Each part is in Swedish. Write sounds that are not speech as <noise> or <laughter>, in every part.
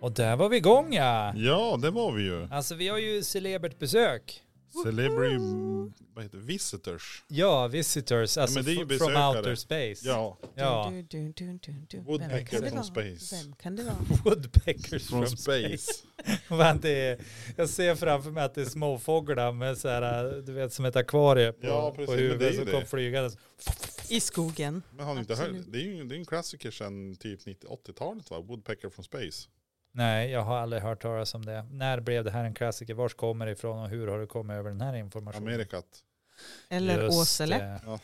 Och där var vi igång ja. Ja, det var vi ju. Alltså vi har ju celebert besök. Celebrity, vad heter det? visitors. Ja, visitors, alltså men det är ju fr- from besökare. outer space. Ja, ja. Du, du, du, du, du. Woodpecker Vem kan det from vara? space. Vem kan det vara? Woodpeckers från space. <laughs> Vad det är, jag ser framför mig att det är småfåglar med så här, äh, du vet som ett akvarie på, Ja, på precis, men det är huvudet ju som det. kom flygandes. <laughs> I skogen. Men har ni inte Absolut. hört? Det är ju det är en klassiker sedan typ 90 80-talet va? Woodpecker from space. Nej, jag har aldrig hört talas om det. När blev det här en klassiker? Vars kommer det ifrån och hur har du kommit över den här informationen? Amerikat. Eller Just Åsele. det.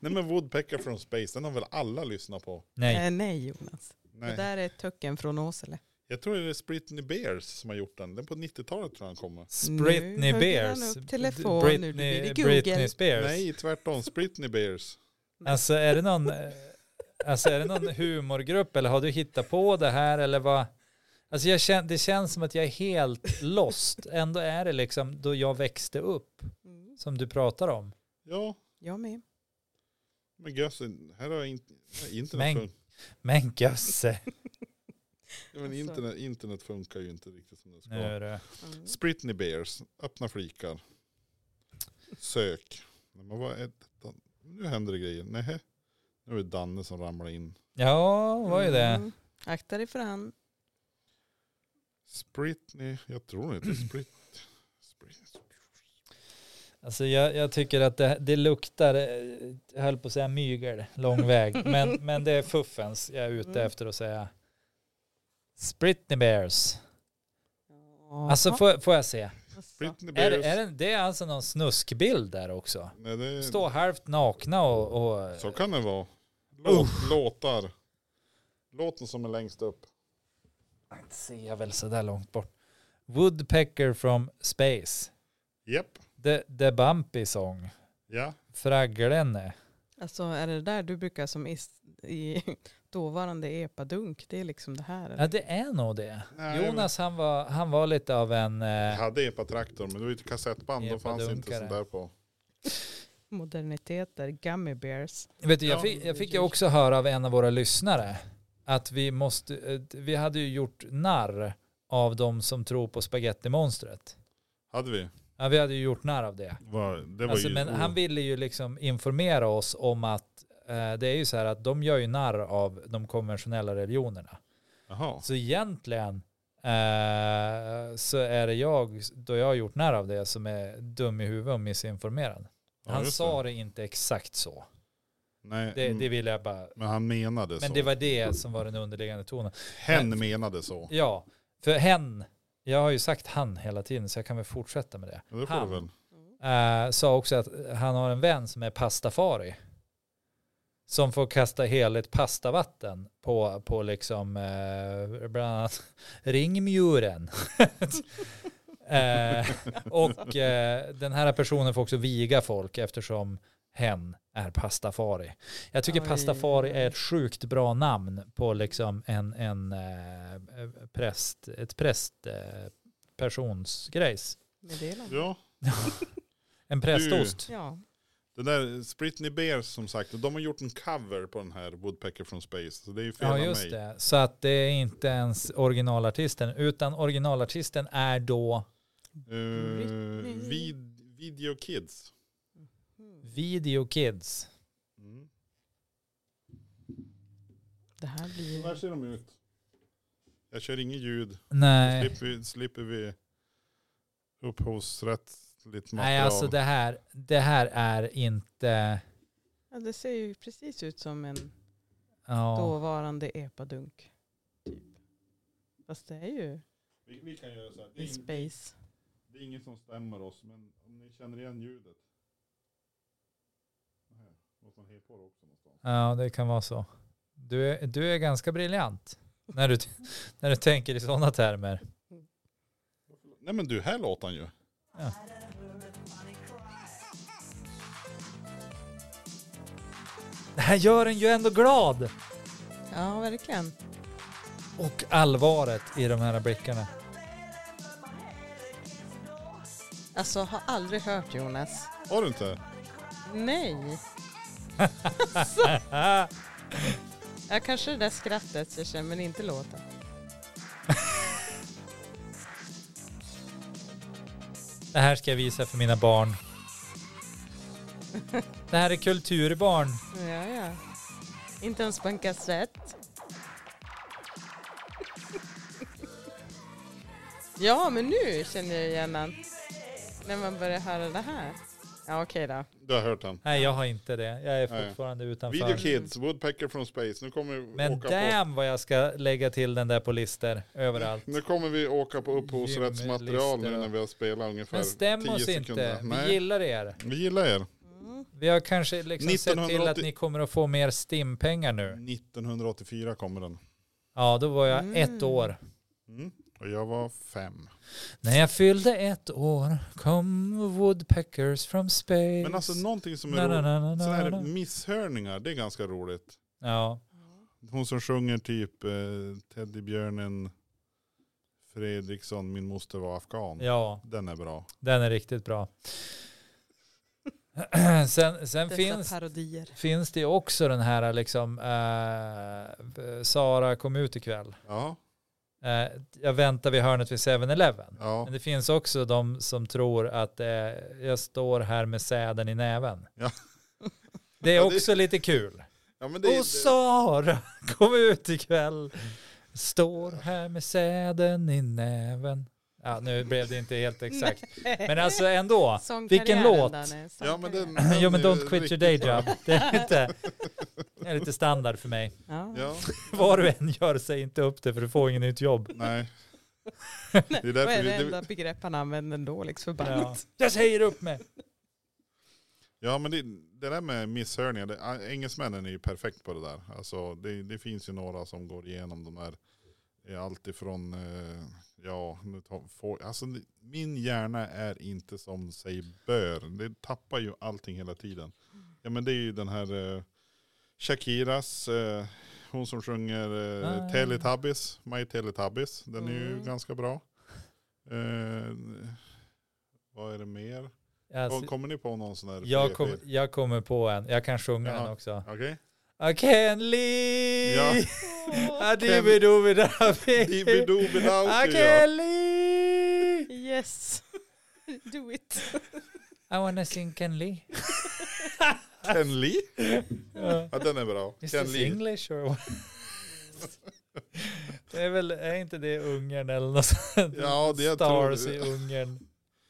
Nej men Woodpecker from space, den har väl alla lyssnat på? Nej, Eh, nej Jonas. Det Nej. där är töcken från Åsele. Jag tror det är Britney Bears som har gjort den. Den på 90-talet tror jag den kommer. Britney Eh, Nu höjer han Bears. upp telefon, Britney, nu blir det Google. Britney Spears. Nej, tvärtom. Britney Bears. Alltså är det någon, eh, alltså, är det någon humorgrupp eller har du hittat på det här eller vad? Alltså jag kän, det känns som att jag är helt lost. Ändå är det liksom då jag växte upp Mm. som du pratar om. Ja, Jag med. men gös, här har jag inte... Internet, Men- fun- Men gosse, ja, men internet, internet funkar ju inte riktigt som det ska. nu är det. Mm. Britney Bears, öppna flikar. Sök. Nej, Men vad är detta? Nu händer det grejer. Nej, nu är det Danne som ramlar in. Ja, vad är det? Mm. Akta dig för han. Britney, jag <clears throat> tror inte Sprit. Sprit. Alltså jag, jag tycker att det, det luktar, eh, jag höll på att säga mygel, lång <laughs> väg. Men, men det är fuffens jag är ute Mm. efter att säga. Britney Bears. Jaha, Alltså får, får jag se? alltså. Britney Är, Bears. det- är det, det är alltså någon snuskbild där också. Nej, det, Stå halvt nakna och... och Mm. Så kan det vara. Låt, låtar. Låten som är längst upp. Inte ser jag väl sådär långt bort. Woodpecker from Space. Japp. The, the Bumpy Song. Ja. Fragglene. alltså är det där du brukar som i, i <laughs> dåvarande epadunk? Det är liksom det här? Ja Eller? det är nog det. Nej, Jonas han var, han var lite av en... men- Eh, Jag hade epatraktor men det var ju ett kassettband. Då fanns inte Epadunkare. sånt där på. Moderniteter, gummy bears. vet du, jag Ja. fick, jag fick ju också höra av en av våra lyssnare att vi måste... eh, Vi hade ju gjort narr av de som tror på spagettimonstret. Hade vi. Ja, vi hade ju gjort narr av det. Var, det var Alltså, ju, men han ville ju liksom informera oss om att eh, det är ju så här att de gör ju narr av de konventionella religionerna. Jaha. Så egentligen eh, så är det jag, då jag har gjort narr av det, som är dum i huvudet och missinformerad. Ja, han just sa det. Mm. det inte exakt så. Nej, Det, det ville jag bara... Men han menade så. Men det var det som var den underliggande tonen. Hen menade så. Ja, för hen, jag har ju sagt han hela tiden så jag kan väl fortsätta med det. Ja, Det får Han. du väl. Mm. eh, sa också att han har en vän som är pastafari. Som får kasta heligt pastavatten på, på liksom eh, bland annat <laughs> ringmuren. <laughs> eh, och eh, den här personen får också viga folk eftersom hen är pastafari. Jag tycker Oj. pastafari är ett sjukt bra namn på liksom en, en eh, präst, ett präst eh, persons grejs. Meddelande. Ja. En prästost. Ja. Det där Britney Bears som sagt, de har gjort en cover på den här Woodpecker from Space. Så det är ju fel Ja av just mig. det, så att det är inte ens originalartisten utan originalartisten är då Eh, Britney. vid, video Kids. Mm. Video Kids. Mm. Det här Så där blir... ser de ut. Jag kör inget ljud. Nej, Slipper, vi- slipper vi upphovsrättsligt material. Nej alltså det här, det här är inte, Ja, det ser ju precis ut som en ja, dåvarande epadunk. Typ. Fast det är ju vi, vi kan göra så här. Det i är, ing- space. det är ingen som stämmer oss, men om ni känner igen ljudet. Nej, måste man hej på det också någonstans. ja det kan vara så. Du är, du är ganska briljant när du, <laughs> när du tänker i sådana termer. Nej men du, här låter han ju. Ja. Det här gör en ju ändå glad. Ja, verkligen. Och allvaret i de här blickarna. Alltså, har aldrig hört Jonas. Har du inte? <laughs> Nej. Ah. Ja, kanske det där skrattet jag känner, men inte låten. Det här ska jag visa för mina barn. Det här är kulturbarn. Ja, ja. Inte ens på en kassett. <laughs> Ja, men nu känner jag igen den. När man börjar höra det här. Ja, okej då. Du har hört han. Nej, jag har inte det. Jag är Nej. fortfarande Video utanför. Kids, Woodpecker from Space. Nu kommer vi Men åka damn vad jag ska lägga till den där på listor överallt. på. Nu kommer vi åka på upphovsrättsmaterial nu Gymlistor. när vi har spelat ungefär Men stäm 10 oss sekunder. inte. Vi Nej, gillar er. vi gillar er. Mm. Vi har kanske liksom sett till att 1980 ni kommer att få mer stimpengar nu. 1984 kommer den. Ja, då var jag ett år. Mm. Och jag var fem. När jag fyllde ett år kom woodpeckers from space. Men alltså någonting som Na, är na, roligt. na, na, na, Sådana na. här misshörningar, det är ganska roligt. Ja, Hon som sjunger typ eh, Teddybjörnen Fredriksson, min moster var afghan. ja, Den är bra. den är riktigt bra. <clears throat> sen sen Dessa finns, parodier. finns det ju också den här liksom, eh, Sara kom ut ikväll. Ja, Eh, jag väntar vid hörnet vid 7-Eleven. ja. Men det finns också de som tror att eh, jag står här med säden i näven. Ja. <laughs> Det är Ja, det- också lite kul. ja men det, Och Sara, <laughs> kom ut ikväll. Står här med säden i näven. Ja, nu blev det inte helt exakt. Men alltså ändå. vilken låt? ja, men den, <laughs> <clears throat> Jo, men den är don't quit your riktigt day bra. job. Det är lite, det är lite standard för mig. Ja. Ja, <laughs> Vad du än gör, säg inte upp det för du får ingen nytt jobb. <laughs> nej. Det är Vad därför är det vi, enda det, begrepp han använder ändå, liksom Ja. förbannat. Jag säger upp mig. ja men det, det där med misshörningar, det, ah, engelsmännen är ju perfekt på det där. Alltså, det, det finns ju några som går igenom de här, eh, allt ifrån, eh, ja, nu tar, får, alltså det- min hjärna är inte som sig bör. Det tappar ju allting hela tiden. Ja men det är ju den här eh, Shakiras, eh, hon som sjunger eh, Ah. Teletubbies, My Teletubbies, den är ju Mm. ganska bra. Eh, vad är det mer? Alltså, Kom- Kommer ni på någon sån här? jag, PP? kom, jag kommer på en. Jag kan sjunga Ja. den också. Okej. I can't leave. Ja. Adibidobidabi. I Dibbidobidout, ja. can't leave. Yes. <laughs> Do it. I wanna sing Ken Lee. Ken Lee? Ja. Ja den är bra. Is Ken this Lee. English or <laughs> what? det är väl, är inte det Ungern eller något sånt? Ja, det jag tror- Stars i Ungern.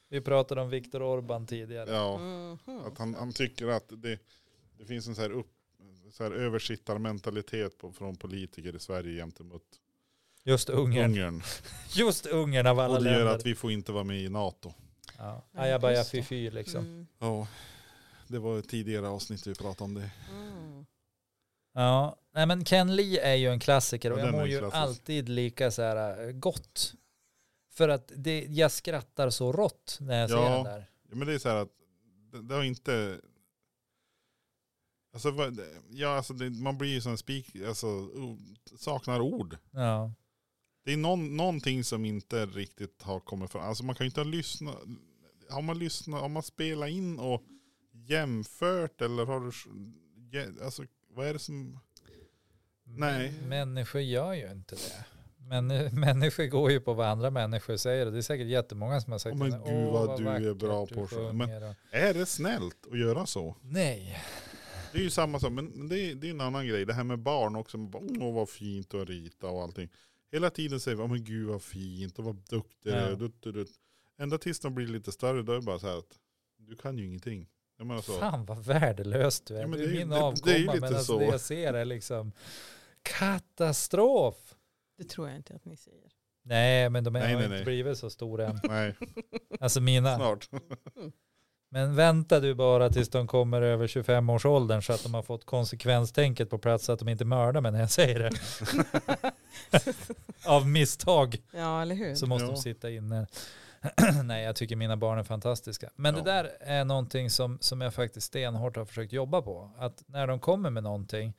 Vi pratade om Viktor Orban tidigare. Ja. Mhm. Att han, han tycker att det, det finns en så här, upp, så här översittarmentalitet på, från politiker i Sverige gentemot Just Ungern. Ungern. Just Ungern av alla Och det gör länder. att vi får inte vara med i NATO. Ja. Ja, Ajabaja just det. fifi liksom. Mm. Ja, det var ett tidigare avsnitt vi pratade om det. Mm. Ja, nej men Ken Lee är ju en klassiker och Ja, jag den är mår ju ju klassisk. alltid lika så här eh, gott. För att det, jag skrattar så rått när jag ser Ja. den där. Ja, Men det är så här att det, det har inte... Alltså, vad- ja, alltså det, man blir ju som en spik, alltså o- saknar ord. Ja. Det är någon, någonting som inte riktigt har kommit fram. Alltså man kan ju inte ha lyssnat. Har man lyssnat, har man spelat in och jämfört eller har du, jä- alltså vad är det som, Nej. Människor gör ju inte det. Men, <laughs> människor går ju på vad andra människor säger och det är säkert jättemånga som har sagt Åh, men den här, Oh gud, "Åh, vad du är vackert bra på att sjunga." Men- sjunger och- är det snällt att göra så? Nej. Det är ju samma sak, men men det är, det är en annan grej. Det här med barn också, man bara, åh vad fint att rita och allting. Hela tiden säger vi, "Åh, men gud vad fint och vad duktig du Ja. är. Dutt, dutt, dutt. Ända tills de blir lite större, då är det bara så här att du kan ju ingenting. Jag menar så. Fan vad värdelöst du är. Alltså. Ja, men du är det är ju- min det- det är ju avkomma men lite alltså så. det jag ser är liksom katastrof. Det tror jag inte att ni säger. Nej men de är, Nej, har nej, inte nej. blivit så stora <laughs> än. <laughs> Nej, Alltså mina. snart. Men vänta du bara tills de kommer över 25-årsåldern så att de har fått konsekvenstänket på plats så att de inte mördar mig när jag säger <laughs> det. Av misstag Ja, eller hur? så måste Ja. de sitta inne. <clears throat> Nej, jag tycker mina barn är fantastiska. Men Ja. det där är någonting som, som jag faktiskt stenhårt har försökt jobba på. Att när de kommer med någonting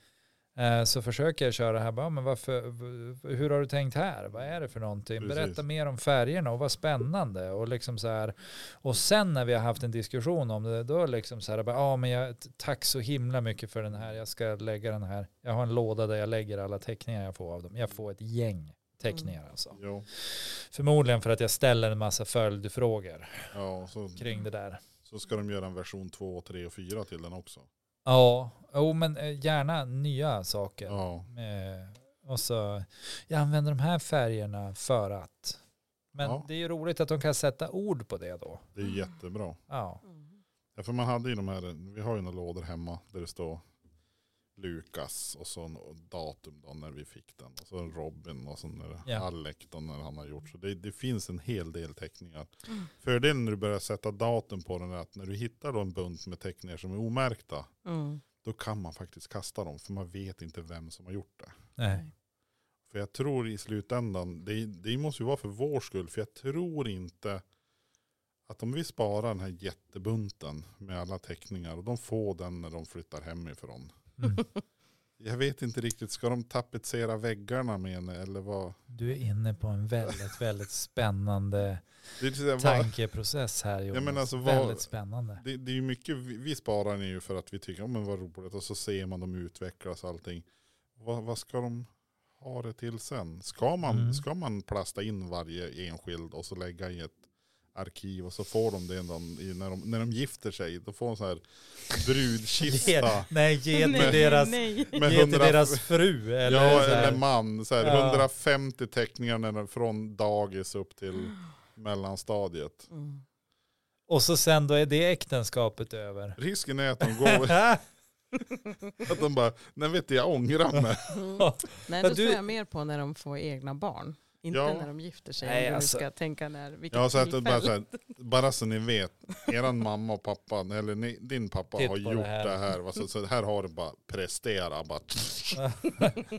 eh, så försöker jag köra det här, bara, men varför, v- hur har du tänkt här? Vad är det för någonting? Precis. Berätta mer om färgerna och vad spännande. Och, liksom så här. och sen när vi har haft en diskussion om det, då liksom så här, bara, ah, men jag, tack så himla mycket för den här, jag ska lägga den här. Jag har en låda där jag lägger alla teckningar jag får av dem. Jag får ett gäng. teckningar alltså. Jo, Förmodligen för att jag ställer en massa följdfrågor ja, så, kring det där. så ska de göra en version 2, 3 och 4 till den också. Ja, oh, men eh, gärna nya saker. Ja, Eh, och så, jag använder de här färgerna för att. Men Ja. det är ju roligt att de kan sätta ord på det då. det är jättebra. Ja, Mm. Ja, för man hade ju de här, vi har ju några lådor hemma där det står Lukas och så en datum då när vi fick den. Och så en Robin och så när det- Ja. Alec då när han har gjort. Så det, det finns en hel del teckningar. Mm. Fördelen när du börjar sätta datum på den är att när du hittar då en bunt med teckningar som är omärkta, Mm. då kan man faktiskt kasta dem för man vet inte vem som har gjort det. nej. För jag tror i slutändan, det, det måste ju vara för vår skull, för jag tror inte att om vi sparar den här jättebunten med alla teckningar och de får den när de flyttar hemifrån. Mm. Jag vet inte riktigt, ska de tapetsera väggarna med en eller vad? Du är inne på en väldigt, väldigt spännande Det är, så här, <laughs> vad, tankeprocess här Jonas. men alltså, vad- Väldigt spännande. det, det är ju mycket, vi vi sparar den ju för att vi tycker om men vad roligt och så ser man dem utvecklas och allting. Vad, vad ska de ha det till sen? Ska man, Mm. ska man plasta in varje enskild och så lägga i ett arkiv och så får de det en dag i- när de, när de gifter sig. Då får de så här <laughs> brudkista. Nej, <laughs> ge till Nej, deras, nej. Med ge till hundra- deras fru. Eller ja, så här. eller man. Så här, Ja. 150 teckningar när de- från dagis <gasps> upp till mellanstadiet. Mm. Och så sen då är det äktenskapet över. Risken är att <laughs> de går, att de bara, nej vet du, jag ångrar mig. Mm. Nej, Ja, du- då tror jag mer på när de får egna barn. Inte Ja. när de gifter sig. Nej, om du nu alltså. ska tänka när, vilket Ja, så att det bara, tillfälle. så här, bara så ni vet, eran mamma och pappa, eller ni, din pappa Titt har på gjort det det här. här. va? Så, så här har du bara prestera. Bara,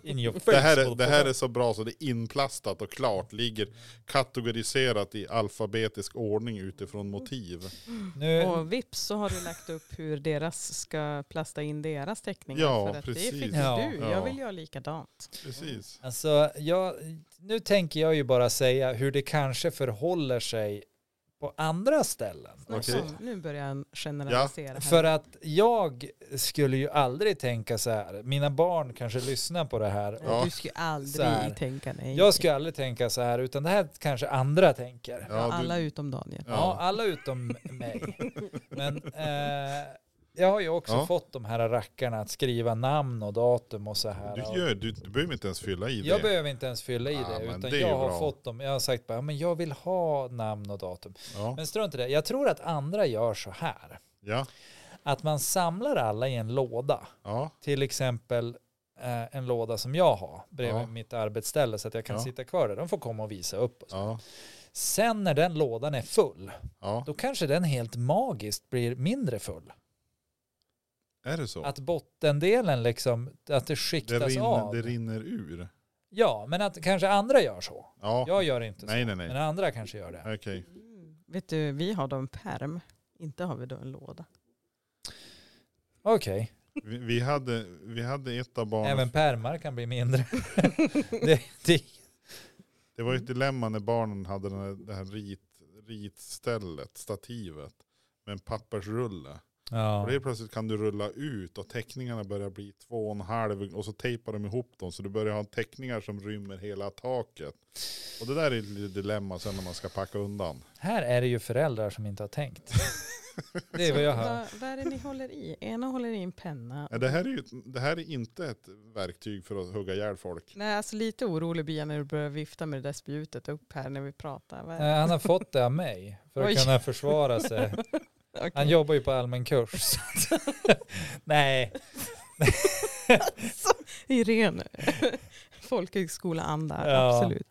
In your face. det, här är, det här är så bra så det är inplastat och klart, ligger kategoriserat i alfabetisk ordning utifrån motiv. Nu, Eh, Och vips så har du lagt upp hur deras ska plasta in deras teckningar. Ja, för att det precis. fick Ja. du. Ja. Jag vill göra likadant. Precis. Alltså, jag, nu tänker jag ju bara säga hur det kanske förhåller sig på andra ställen. Snart Okej. som- Nu börjar han generalisera. här. För att jag skulle ju aldrig tänka så här, mina barn kanske lyssnar på det här. Ja. Du ska ju Så här. aldrig tänka nej. Jag skulle aldrig tänka så här, utan det här kanske andra tänker. Ja, Ja, du- Alla utom Daniel. Ja. alla utom mig. Men eh, jag har ju också Ja. fått de här rackarna att skriva namn och datum och så här. Du, Och- gör, du, du behöver inte ens fylla i Jag det. behöver inte ens fylla i Ja, det, men utan det är ju jag har bra. fått dem. Jag har sagt bara, "Ja, men jag vill ha namn och datum. Ja. Men strunt i det. Jag tror att andra gör så här. Ja. Att man samlar alla i en låda. Ja. Till exempel eh, en låda som jag har bredvid Ja. mitt arbetsställe så att jag kan Ja. sitta kvar där. De får komma och visa upp. och så. Ja. Sen när den lådan är full, ja. då kanske den helt magiskt blir mindre full. Är det så? Att bottendelen liksom, att det Det skiktas rinner, av. det rinner ur. Ja, men att kanske andra gör så. Ja. Jag gör inte så. Nej, nej, Men nej. andra kanske gör det. Okej. Mm. Vet du, vi har då en perm. Inte har vi då en låda. Okej. Vi, vi, hade, vi hade ett av barnen. Även pärmar kan bli <laughs> mindre. det, det, Det var ju ett dilemma när barnen hade den här, det här rit, ritstället, stativet, med en pappersrulle. ja. Och helt plötsligt kan du rulla ut och teckningarna börjar bli två och en halv och så tejpar de ihop dem så du börjar ha teckningar som rymmer hela taket. Och det där är ett litet dilemma sen när man ska packa undan. Här är det ju föräldrar som inte har <laughs> tänkt. Det är vad jag hör. Vad, vad är det ni håller i? Ena håller i en penna. Nej, Det här är, ju, ett- det här är inte ett verktyg för att hugga ihjäl folk. Nej, alltså lite orolig blir jag när du börjar vifta med det där spjutet upp här när vi pratar. Vad är det? Eh, Han har fått det av mig för att Oj. kunna försvara sig. Okej. Han jobbar ju på allmän kurs. så att- <laughs> Nej, Irene, <laughs> folkhögskola-anda, Ja. absolut.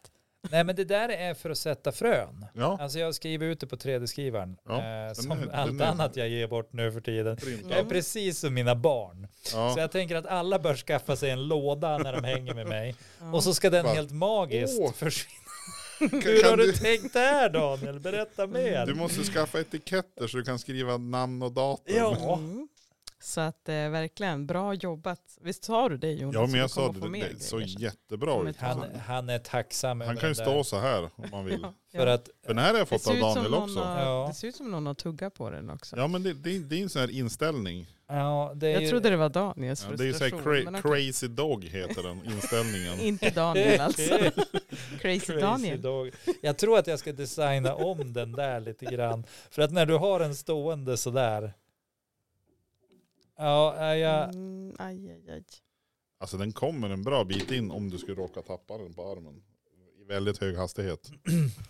Nej, men det där är för att sätta frön. Ja, Alltså jag skriver ut det på 3D-skrivaren. Ja, eh, som är- den allt är- annat jag ger bort nu för tiden. Jag är printat. precis som mina barn. Så Ja. jag tänker att alla bör skaffa sig en låda när de hänger med mig. Ja. Och så ska den Bara, helt magiskt "Åh, försvinna. Kan, Hur har kan du du, tänkt där Daniel? Berätta mer. du måste skaffa etiketter så du kan skriva namn och datum. Ja. Mm. Så att eh, verkligen, bra jobbat. Visst sa du det Jonas? Ja men jag Du kommer sa få det, mer det, det såg grejer sen. jättebra Som ut. ett Han, han är tacksam. Alltså, Han över kan ju det stå där. så här om man vill. Ja, <laughs> ja. För att, Den här har jag det fått ser, av ut som Daniel någon också. Har, Ja. det ser ut som någon har tuggat på den också. Ja men det, det, det är en sån här inställning. Ja, det är Jag ju... trodde det var Daniels Ja, det är ju frustration. såhär cra- men okej. crazy dog heter den <laughs> inställningen. <laughs> Inte Daniel alltså. <laughs> Crazy Daniel. Dog. Jag tror att jag ska designa om den där lite grann. För att när du har en stående sådär. Ja, nej, jag, Mm, aj, aj, aj. Alltså den kommer en bra bit in om du skulle råka tappa den på armen. I väldigt hög hastighet.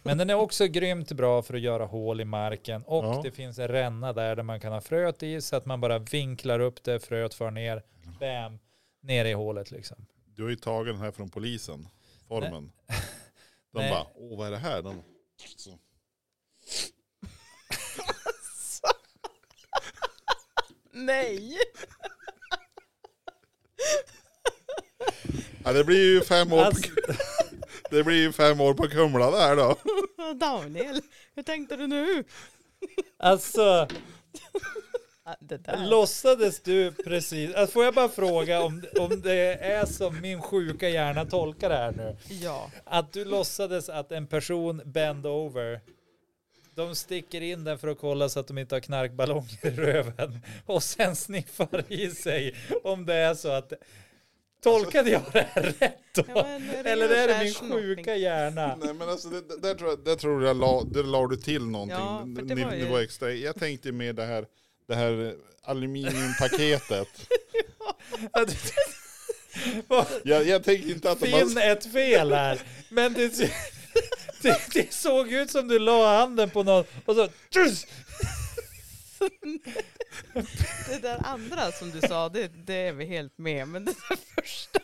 men den är också grymt bra för att göra hål i marken. Och Ja. det finns en ränna där, där man kan ha fröet i. Så att man bara vinklar upp det, fröet för ner. Bam, ner i hålet liksom. Du har ju tagit den här från polisen. Formen. De Nej. bara, åh vad är det här? De, så. Nej! <laughs> Ja, det blir ju fem år, Alltså, på, <laughs> det blir ju fem år på Kumla där då. Daniel, hur tänkte du nu? alltså Ah, Det där. låtsades du precis. Alltså, får jag bara fråga om, om det är som min sjuka hjärna tolkar det här nu. Ja. Att du låtsades att en person bend over. De sticker in den för att kolla så att de inte har knarkballonger i röven. Och sen sniffar i sig om det är så att... Tolkade jag det här rätt då? Ja, <laughs> men det är Eller är det ungefär min snopping. sjuka hjärna? Nej men alltså det, det, där, tror jag, där tror jag la, där la du till någonting. Ja, för det Ni- var ju- det var extra. Jag tänkte mer det här, det här aluminiumpaketet. <laughs> Vad- jag, jag tänkte inte att de har- Finn ett fel här. Men det, <laughs> det, det såg ut som du la handen på någon och så... Det där andra som du sa, det, det är vi helt med. Men det där första,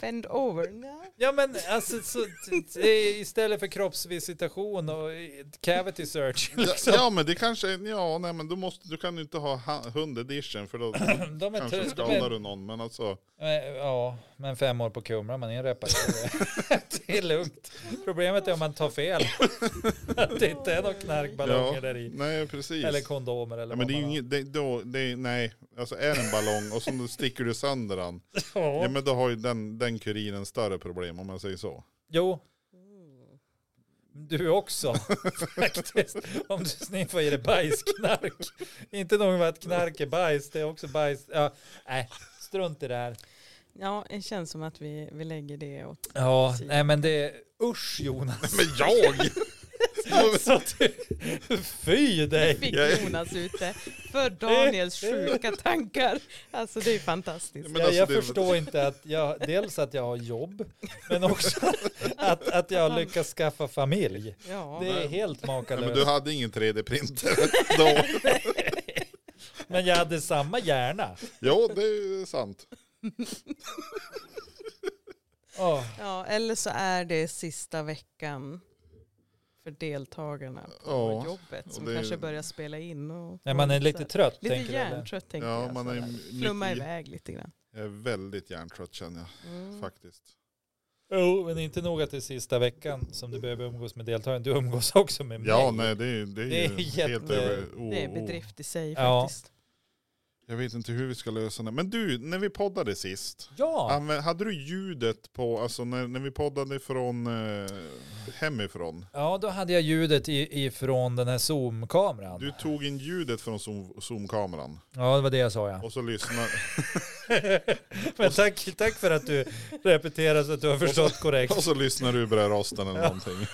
bend over. nja. Ja men alltså så, det- istället för kroppsvisitation och cavity search. <laughs> Liksom. Ja, ja men det kanske, är- ja nej men du, måste, du kan ju inte ha ha- hundedition för då De är kanske trö- skadar du någon. Men alltså, Men, ja, men fem år på Kumla, man är en reparatör. det <laughs> är lugnt. Problemet är om man tar fel. <laughs> Att det inte är några knarkballonger ja, där i. nej precis. Eller kondomer eller ja, men vad det är ju man har. inget, det, då, det, är- nej, alltså är det en ballong och så då sticker du sönder den, Ja. ja men då har ju den, den kurinen större problem om man säger så. Jo, du också <laughs> faktiskt. Om du sniffar i dig bajsknark. Inte nog med att knark är bajs, det är också bajs. Ja, nej, strunt i det här. Ja, det känns som att vi, vi lägger det åt... Ja, nej men det är... Usch <laughs> Jonas. Men jag! Så du... Fy dig. Fick jag- Jonas ute för Daniels sjuka tankar. Alltså det är fantastiskt. Men jag alltså, jag det- förstår inte att jag, dels att jag har jobb, men också <laughs> att, att jag har lyckats skaffa familj. Ja. Det är helt Ja, men du makalöst. hade ingen 3D-printer <laughs> då. Men jag hade samma hjärna. Jo, det är sant. Åh, Ja, eller så är det sista veckan för deltagarna på Ja, jobbet som och det- kanske börjar spela in. Och, när man är lite trött Lite tänker du? eller? hjärntrött tänker Ja, jag. man så är här. mycket- Flumma iväg lite grann. Jag är väldigt hjärntrött känner jag Mm. faktiskt. Jo, men inte nog att det är sista veckan som du behöver umgås med deltagarna. Du umgås också med mig. Ja, nej det är, det är, Det är ju jätte- helt över. Oh, Det är oh. bedrift i sig Ja. faktiskt. Jag vet inte hur vi ska lösa det. Men du, när vi poddade sist, Ja, anvä- hade du ljudet på, alltså när, när vi poddade från eh, hemifrån, ja då hade jag ljudet i- ifrån den här zoomkameran. du tog in ljudet från zoom, zoomkameran Ja, det var det jag sa <laughs> ja. och så lyssnade, Men tack, tack för att du repeterar så att du har förstått korrekt. och så lyssnade du i brödrosten eller någonting.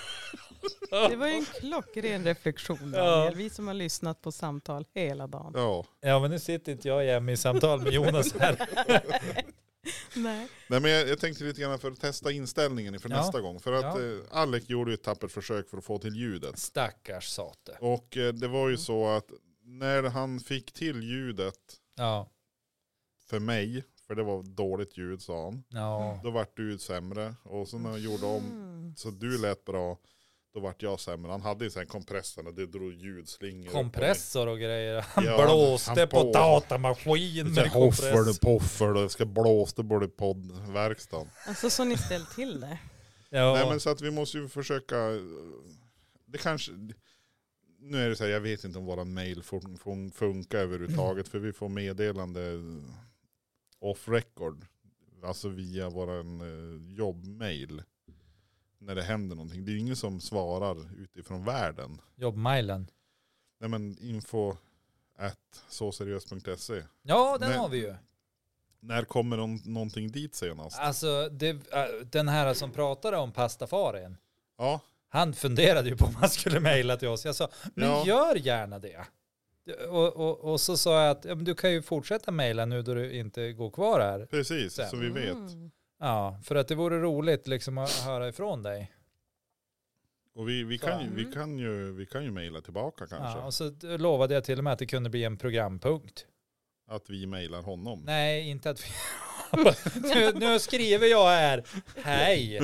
Det var ju en klockren reflektion Ja. Daniel. Vi som har lyssnat på samtal hela dagen. Ja. Ja, men nu sitter inte jag i MI-samtal med Jonas här. <laughs> Nej. Nej, men jag, jag tänkte lite grann för att testa inställningen inför Ja. nästa gång. För att Ja. eh, Alec gjorde ju ett tappert försök för att få till ljudet. Stackars sate. Och eh, det Mm. var ju så att när han fick till ljudet Ja, för mig, för det var dåligt ljud sa han, ja. då vart du sämre. Och sen när han gjorde om, Mm. så du lät bra, då vart jag sämre. Han hade ju sen kompressorn och det drog ljudslingor. upp och ner. Kompressor och grejer. Han Ja, blåste han på på. datamaskinen Så med här, Hoffar du kompress. poffar du, ska blåsa både poddverkstan. Alltså så ni ställt till det. Nej Ja, men så att vi måste ju försöka, det kanske, nu är det så här, jag vet inte om våran mail fun- fun- funkar överhuvudtaget för vi får meddelande off record, alltså via våran eh, jobbmail när det händer någonting. Det är ju ingen som svarar utifrån världen. jobbmailen. Nej men info at såseriöst.se. Ja, den Men- har vi ju. När kommer någon, någonting dit senast? Alltså, det, äh, den här som pratade om pastafarin, Ja, han funderade ju på om han skulle mejla till oss. Jag sa, men Ja. gör gärna det. Och, och, och så sa jag att ja, men du kan ju fortsätta mejla nu då du inte går kvar här. precis. Sen. Som vi vet. Mm. Ja, för att det vore roligt liksom att höra ifrån dig. Och vi, vi, kan, ju, vi, Mm. kan, ju, vi kan ju mejla tillbaka kanske. Mm. Ja, och så lovade jag till och med att det kunde bli en programpunkt. Att vi mejlar honom. Nej, inte att vi... <laughs> nu, nu skriver jag här. <laughs> Hej!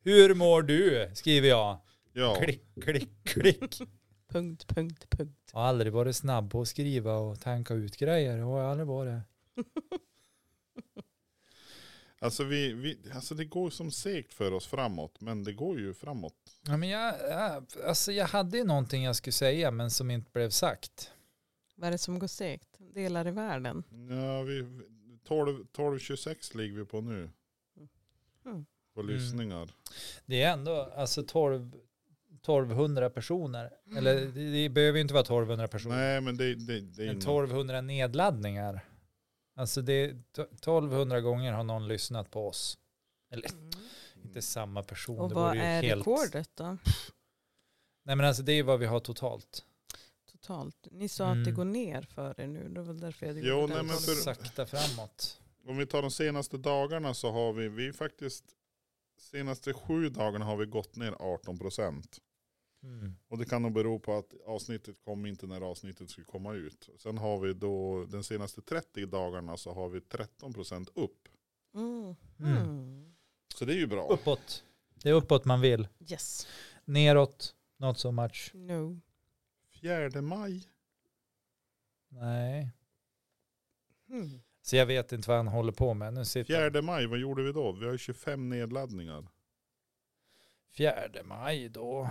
Hur mår du? Skriver jag. Ja, Klick, klick, klick. Punkt, punkt, punkt. Jag har aldrig varit snabb på att skriva och tanka ut grejer. Jag har jag aldrig varit. alltså, vi, vi, alltså det går som segt för oss framåt. Men det går ju framåt. Ja, men jag, jag, alltså jag hade ju någonting jag skulle säga men som inte blev sagt. Vad är det som går segt? Delar i världen. Ja, vi, 12, 12, 26 ligger vi på nu. Mm. På lyssningar. Mm. Det är ändå alltså 12, 1200 personer. Eller det, det behöver ju inte vara 1200 personer. Mm. Nej men det, det, det är Men ju 1200 nedladdningar. Alltså det är t- 1200 gånger har någon lyssnat på oss. Eller något- inte samma person. Och Mm. det vad vore ju är helt... rekordet då? Nej men alltså det är ju vad vi har totalt. Totalt. Ni sa att det Mm. går ner för er nu. Det var därför jag Jo, gjorde nej, den men för- tolkningen. Sakta framåt. Om vi tar de senaste dagarna så har vi, vi är faktiskt senaste sju dagarna har vi gått ner 18 procent. Mm. Och det kan nog bero på att avsnittet kom inte när avsnittet skulle komma ut. Sen har vi då den senaste 30 dagarna så har vi 13 procent upp. Mm. Mm. Mm. Så det är ju bra. Uppåt. Det är uppåt man vill. Yes. Neråt, not so much. No. Fjärde maj. Nej. Mm. Så jag vet inte vad han håller på med. Nu sitter Fjärde maj, vad gjorde vi då? Vi har ju 25 nedladdningar. fjärde maj då.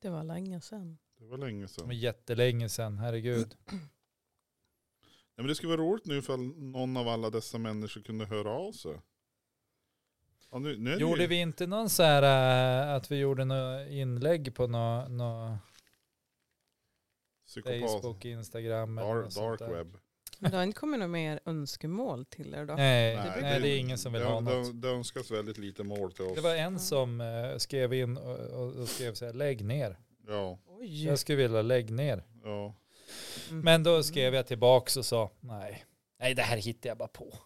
Det var länge sedan. Det var länge sedan. Det var jättelänge sedan, Mm. herregud. Nej, men det skulle vara roligt nu för någon av alla dessa människor kunde höra av sig. Ja, nu, nu är det ju- Gjorde vi inte någon så här äh, att vi gjorde något inlägg på något nå Psykopat. Facebook, Instagram eller något Dark, sånt dark där? web. Men det har inte kommit några mer önskemål till er då? Nej, Nej, nej, det- det är ingen som vill Det, ha något. det, det önskas väldigt lite mål till oss. Det var en som eh, skrev in och, och, och skrev så här, lägg ner. Ja, Oj. Jag skulle vilja lägg ner. ja. Mm. Men då skrev jag tillbaks och sa nej. Nej, det här hittar jag bara på.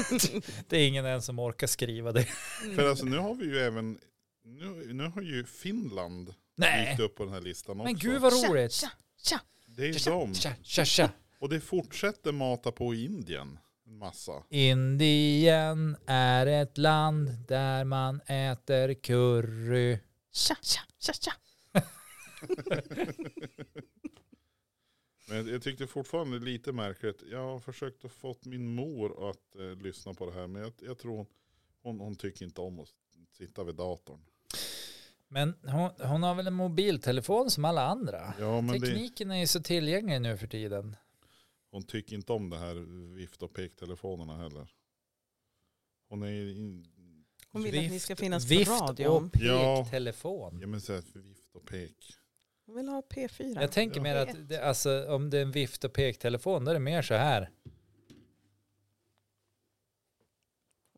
<laughs> det är ingen ens som orkar skriva det. Mm. För alltså nu har vi ju även, nu, nu har ju Finland Nej, dykt upp på den här listan också. men gud vad Tja, roligt. tja, tja. Det är Tja, dem. Tja, tja, tja. Och det fortsätter mata på i Indien. En massa. Indien är ett land där man äter curry. Tja, tja, tja, tja. Men jag tyckte fortfarande det är lite märkligt. Jag har försökt att få min mor att eh, lyssna på det här. Men jag, jag tror hon, hon, hon tycker inte om att sitta vid datorn. Men hon, hon har väl en mobiltelefon som alla andra. Ja men det, Tekniken är ju så tillgänglig nu för tiden. hon tycker inte om det här vift och pektelefonerna heller. Hon är in, Hon vill att ni ska finnas vift på radion. och Ja. pektelefon. Ja men så här, vift och pek. Hon vill ha P4. Jag tänker mer att det, alltså, om det är en vift och pektelefon då är det mer så här.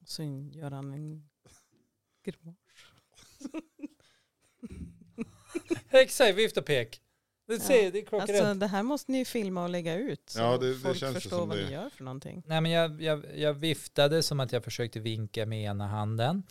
Och så gör han en <laughs> grimas. Exakt, vift och pek. Du ser, det är klockrent. Alltså det här måste ni ju filma och lägga ut så Ja, det- det folk känns ju förstår som vad det. ni gör för någonting. Nej, men jag, jag, jag viftade som att jag försökte vinka med ena handen.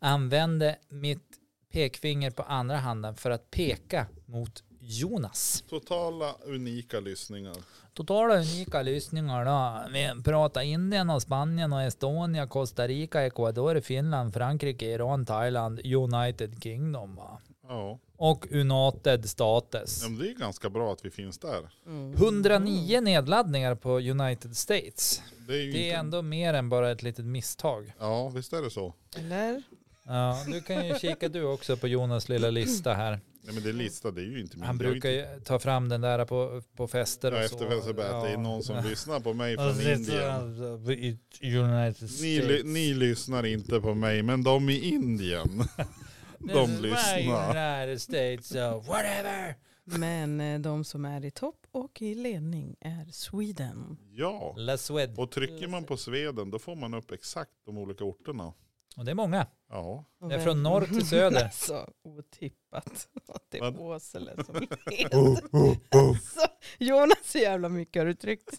Använde mitt pekfinger på andra handen för att peka mot Jonas. Totala unika lyssningar. Totala unika lyssningar då. Vi pratar Indien och Spanien och Estonia, Costa Rica, Ecuador, Finland, Frankrike, Iran, Thailand, United Kingdom va? Ja. Och United States. ja men det är ganska bra att vi finns där. Mm. 109 nedladdningar på United States. Det är ju Det inte... är ändå mer än bara ett litet misstag. Ja visst är det så. Eller? Ja, du kan ju kika du också på Jonas lilla lista här. Nej men det är lista, det är ju inte min. Han det är brukar inte... ju ta fram den där på, på fester Ja, och så. efter Felsebät, det är någon som lyssnar på mig från Indien. Indien. United States. Ni, ly- ni lyssnar inte på mig, men de i Indien. <laughs> This is my lyssnar. United States, so whatever. Men eh, de som är i topp och i ledning är Sweden. Ja, La Suede. och trycker man på Sveden då får man upp exakt de olika orterna. Och det är <laughs> många. Ja, Och Det är vem- från norr till söder. <laughs> alltså, otippat <laughs> att det Vad? Oh, är Åsele <laughs> som leder. <laughs> Alltså, Jonas, hur jävla mycket har du tryckt?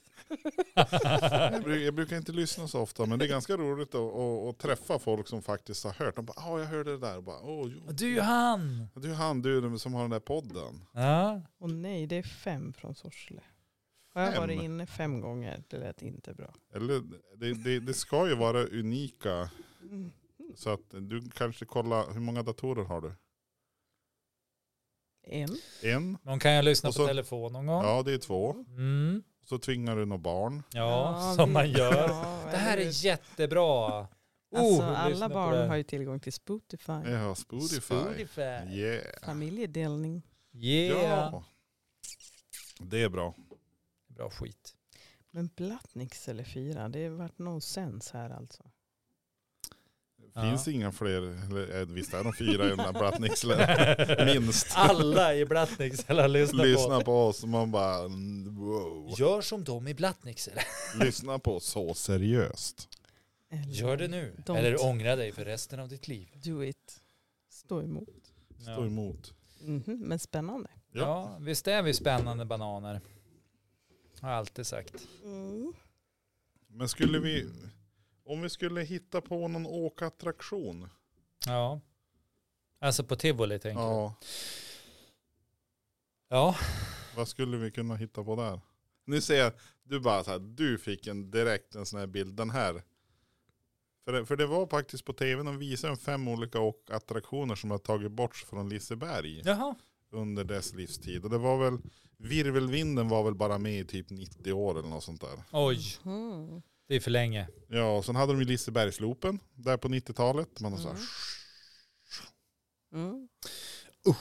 jag, brukar, jag brukar inte lyssna så ofta men det är ganska roligt att, att, att träffa folk som faktiskt har hört. De bara, ja jag hörde det där. Och bara, Åh, jo. Och Du han! Du är han du som har den där podden. Ja. Och nej, det är fem från Sorsele. Har jag Fem? varit inne fem gånger? Det lät inte bra. Eller, det, det, det ska ju vara unika. Mm. Så att du kanske kolla, hur många datorer har du? En. En? Någon kan jag lyssna Och så- på telefon någon gång. Ja, Ja det är två. mm. Så tvingar du några barn. ja, som man gör. Ja, Det här eller hur? är jättebra. Oh, Alltså, lyssna alla på barn det. har ju tillgång till Spotify. Ja, Spotify. Spotify. Yeah. Familjedelning. Yeah. Ja. Det är bra. Bra skit. Men Blattniks eller fyra, det har varit nonsens här alltså. Finns Ja. inga fler, eller eh, visst är de fyra i den <laughs> där Brattnicksläpp. Minst. Alla i Blattnicksel har lyssnat Lyssna på. på oss och man bara mm, wow. Gör som de i Blattnicksel. Lyssna på så seriöst. Eller Gör det nu. Don't. Eller ångra dig för resten av ditt liv. Do it. Stå emot. Stå emot. Mhm, men spännande. Ja. ja, visst är vi spännande bananer. Har jag alltid sagt. Mm. Men skulle vi, om vi skulle hitta på någon åkattraktion. Ja. Alltså på tivoli tänker jag. Ja, Ja. vad skulle vi kunna hitta på där? Nu ser jag, du bara så här, du fick en direkt en sån här bild, den här. För det, för det var faktiskt på tv, de visade en fem olika åkattraktioner som har tagit bort från Liseberg. Jaha. under dess livstid. Och det var väl, virvelvinden var väl bara med i typ 90 år eller något sånt där. Oj, Mhm. det är för länge. Ja, och sen hade de ju Lisebergslopen där på 90-talet. Man så här, Mm. Mm. och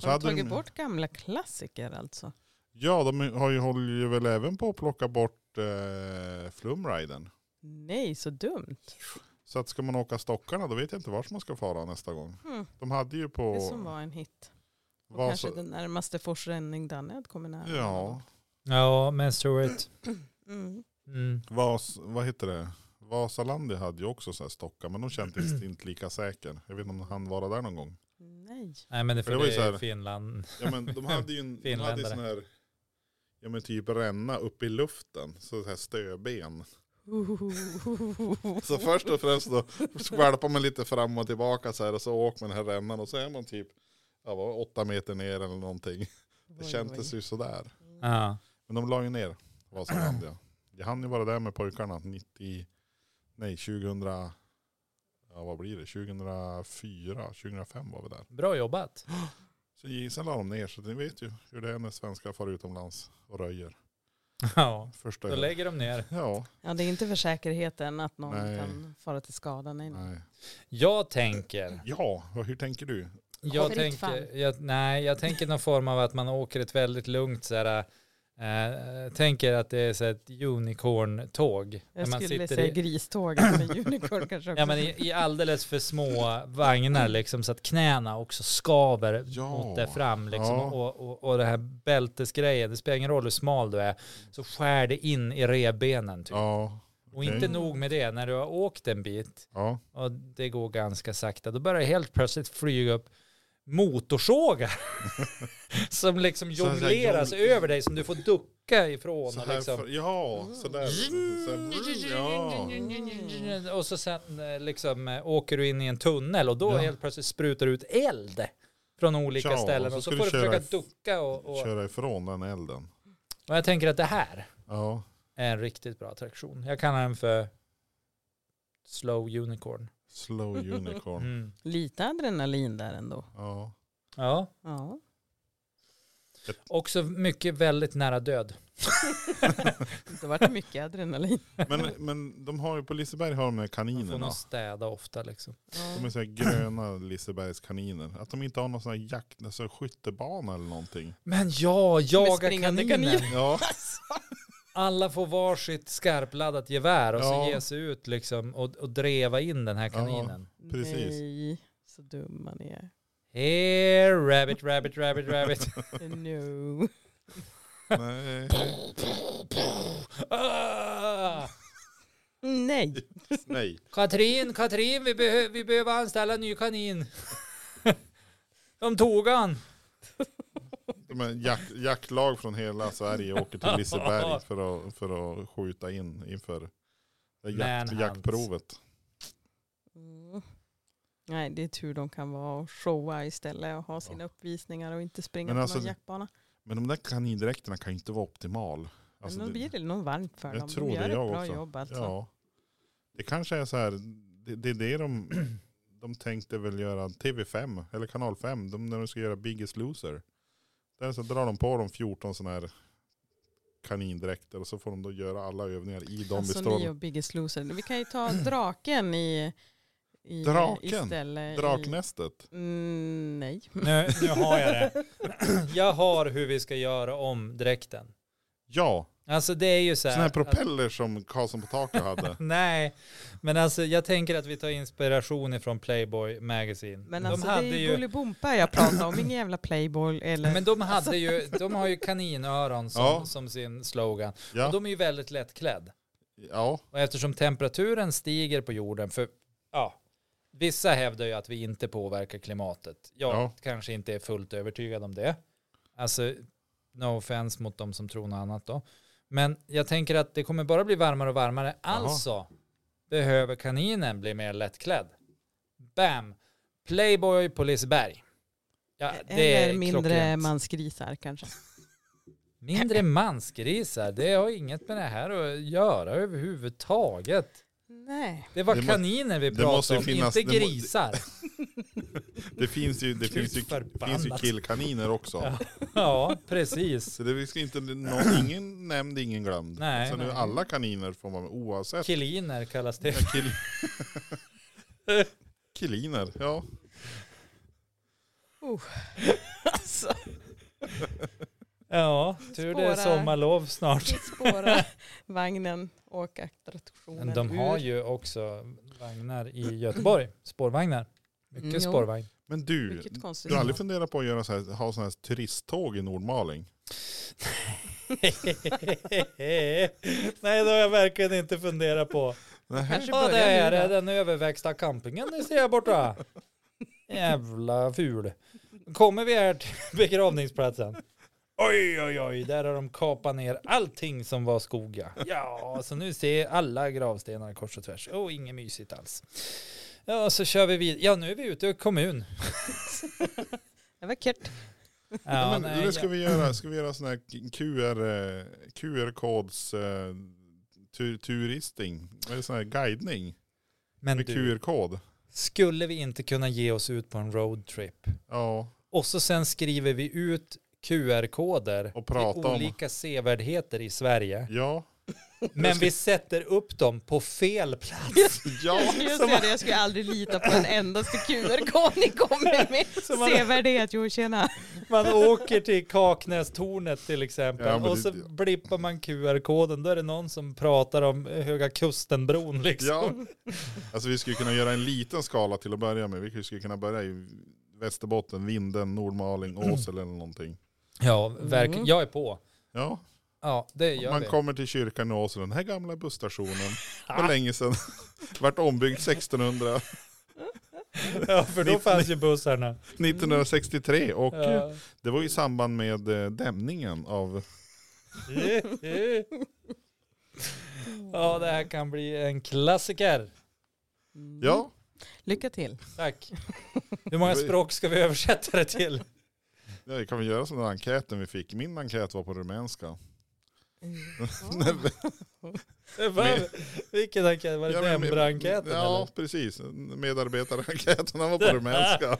så Har de hade tagit de, bort gamla klassiker alltså? Ja, de har ju, håller ju väl även på att plocka bort eh, Flumriden. Nej, så dumt. Så att ska man åka stockarna då vet jag inte vart man ska fara nästa gång. Hmm. De hade ju på... Det som var en hit. Och Vasa- kanske den närmaste forsränning Danne kommer nära. Ja, Ja, men Stuart. Mm. Mm. Vas, vad heter det? Vasalandi hade ju också så här stockar men de kändes inte lika säker. Jag vet inte om han var där någon gång. Nej. Nej, men det, för För det det var ju så här- är Finland. Ja men de hade ju en de hade ju Finländare. sån här, ja men typ ränna upp i luften, så så här stöben. Så först och främst då skvalpar man lite fram och tillbaka så här och så åker man den här rännan och så är man typ, ja vad, åtta meter ner eller någonting. Det kändes ju sådär. Ja. Men de la ju ner Vasalandia. <clears throat> Jag hann ju vara där med pojkarna 90, nej 2000, ja vad blir det, 2004, 2005 var vi där. Bra <laughs> jobbat. Så sen la de ner, så ni vet ju hur det är när svenskar far utomlands och röjer. Ja, Första då lägger de ner. Ja, Ja, det är inte för säkerheten att någon Nej. kan fara till skada. Nej, nej. nej. Jag tänker, Ja, vad- hur tänker du? jag Fritt fall. tänker, jag, nej, jag tänker någon form av att man åker ett väldigt lugnt så här, eh, tänker att det är så här ett unicorn-tåg. När Jag man skulle sitter säga i, griståget, <laughs> men unicorn kanske också. Mm. ja, men i, i alldeles för små vagnar liksom så att knäna också skaver Ja. mot det fram liksom. Ja. Och, och, och det här bältesgrejen, det spelar ingen roll hur smal du är, så skär det in i revbenen typ. Ja, Och inte nog med det, när du har åkt en bit ja. och det går ganska sakta, då börjar det helt plötsligt flyga upp motorsågar <laughs> som liksom Så här- så här jongleras jong- över dig som du får ducka ifrån. Så och här, liksom. Mm. för, ja, sådär. Så här, ja. Och så sen eh, liksom eh, åker du in i en tunnel och då Ja. helt plötsligt sprutar ut eld från olika Ja, och ställen så och så ska får du du köra försöka if- ducka och, och, Köra ifrån den elden. och jag tänker att det här Ja, är en riktigt bra attraktion. Jag kallar den för Slow Unicorn. <laughs> slow unicorn. Mm. Lite adrenalin där ändå. Ja. Ja. Ja. Också mycket väldigt nära död. Det har varit mycket adrenalin. <laughs> Men, men de har ju på Liseberg har de här Man får kaninerna. nog städa ofta liksom. De är så här gröna Lisebergskaniner. Att de inte har någon sån här jakt, alltså skyttebana eller någonting. Men ja, jaga springande kaninen. kaniner. Ja, Alla får varsitt skarpladdat gevär och Ja. så ge sig ut liksom och, och dreva in den här kaninen. precis. Nej, så dumma ni är. Here rabbit, rabbit, rabbit, rabbit. <laughs> No. Nej. ah! <laughs> Nej. Nej. Katrin, Katrin, vi, behö- vi behöver anställa en ny kanin. <laughs> De tog han. Men jack, jacklag från hela Sverige åker till Liseberg för att, för att skjuta in inför det jakt, Manhunt. jaktprovet. Mm. Nej, det är tur de kan vara och showa istället och ha sina uppvisningar och inte springa Men på alltså, någon jackbana. Men de där kanindräkterna kan ju inte vara optimal. Alltså, Men då det- blir det nog varmt för jag dem. tror de gör det, jag ett bra också. jobb alltså. Ja. Det kanske är så här, det, det är det de, <clears throat> de tänkte väl göra TV5 eller Kanal 5, de, när de ska göra Biggest Loser. Där så drar de på dem 14 sådana här kanindräkter och så får de då göra alla övningar i dem i alltså stål. ni och Biggest Loser. Vi kan ju <laughs> ta draken i, i Draken? istället. i- Draknästet. Mm, nej. Nu, nu har jag det. <clears throat> Jag har hur vi ska göra om dräkten. Ja, Alltså det är ju så här. sådana här att- propeller som Karlsson på taket hade. <laughs> Nej, men alltså jag tänker att vi tar inspiration ifrån Playboy Magazine. Men alltså det är ju Bolibompa jag pratar om, ingen jävla Playboy eller... men de hade ju, de har ju kaninöron som, Ja. som sin slogan. Och Ja, de är ju väldigt lättklädd. ja. Och eftersom temperaturen stiger på jorden, för ja, vissa hävdar ju att vi inte påverkar klimatet. Jag Ja. kanske inte är fullt övertygad om det. Alltså, no offense mot de som tror något annat då. Men jag tänker att det kommer bara bli varmare och varmare. Alltså behöver kaninen bli mer lättklädd. Bam! Playboy på Liseberg. Ja, det eller är mindre klockrent. mansgrisar kanske. mindre mansgrisar, det har inget med det här att göra överhuvudtaget. Nej. Det var Det må- kaniner vi det pratade måste ju om, finnas- inte det må- grisar. Det finns ju, <laughs> det Gud finns ju, förbannat. finns ju killkaniner också. Ja. <laughs> ja, precis. Så det finns inte någon, ingen nämnd, ingen glömd. Nej, så nu nej. alla kaniner får vara med oavsett. Kiliner kallas det. <laughs> Ja, Kill... Killiner, ja. Alltså, Ja, tur det är Spårar. sommarlov snart. spåra <laughs> vagnen och attraktionen Men de har ju också vagnar i Göteborg, spårvagnar. Mycket Mm, jo. spårvagn. <laughs> Men du, Vilket konstigt. du har aldrig funderat på att göra så här, ha sådana här turisttåg i Nordmaling? Nej, det har jag verkligen inte funderat på. Nej. Kanske Ja, det börjar nu är då. det, den överväxta campingen ni ser här borta. Jävla ful. Kommer vi här till <laughs> begravningsplatsen? Oj, oj, oj, där har de kapat ner allting som var skoga. <laughs> Ja, så nu ser alla gravstenar kors och tvärs. Åh, inget mysigt alls. Ja, så kör vi vidare. Ja, nu är vi ute i kommun. Det var kört. <laughs> Ja, men, nej, eller ska vi göra, ska vi göra sån här QR, eh, QR-kods eh, tu, turisting? Eller sån här guidning men med du, QR-kod? skulle vi inte kunna ge oss ut på en roadtrip? Ja, Och så sen skriver vi ut QR-koder och till prata om. olika sevärdheter i Sverige. <laughs> Ja, Men vi sätter upp dem på fel plats. ja. Jag Som- ser det, jag skulle aldrig lita på en endaste QR-kod ni <laughs> kommer med. man- Sevärdhet, jo tjena. Man åker till Kaknästornet till exempel Ja, men och det- så blippar man QR-koden. Då är det någon som pratar om Höga Kustenbron liksom. Ja. Alltså vi skulle kunna göra en liten skala till att börja med. Vi skulle kunna börja i Västerbotten, <clears throat> Vinden, Nordmaling, Åsele eller någonting. Ja, verkligen. Mm. Jag är på. Ja, Ja, det gör man vi. kommer till kyrkan i Åsele, den här <laughs> gamla busstationen. Ah. Var länge sedan. <laughs> Vart ombyggd 1600, Ja, för då fanns ju bussarna. 1963 och Ja. Mm. det var i samband med eh, dämningen av, ja, det här kan bli en klassiker. Mm. ja, Lycka till. Tack. Hur många språk ska vi översätta det till? det kan vi göra som den här enkäten vi fick. Min enkät var på rumänska. Mm. Vad- Vilken enkät? Var det men- Dembra-enkäten? Ja, eller? precis. Medarbetarenkäten den var på <laughs> rumänska.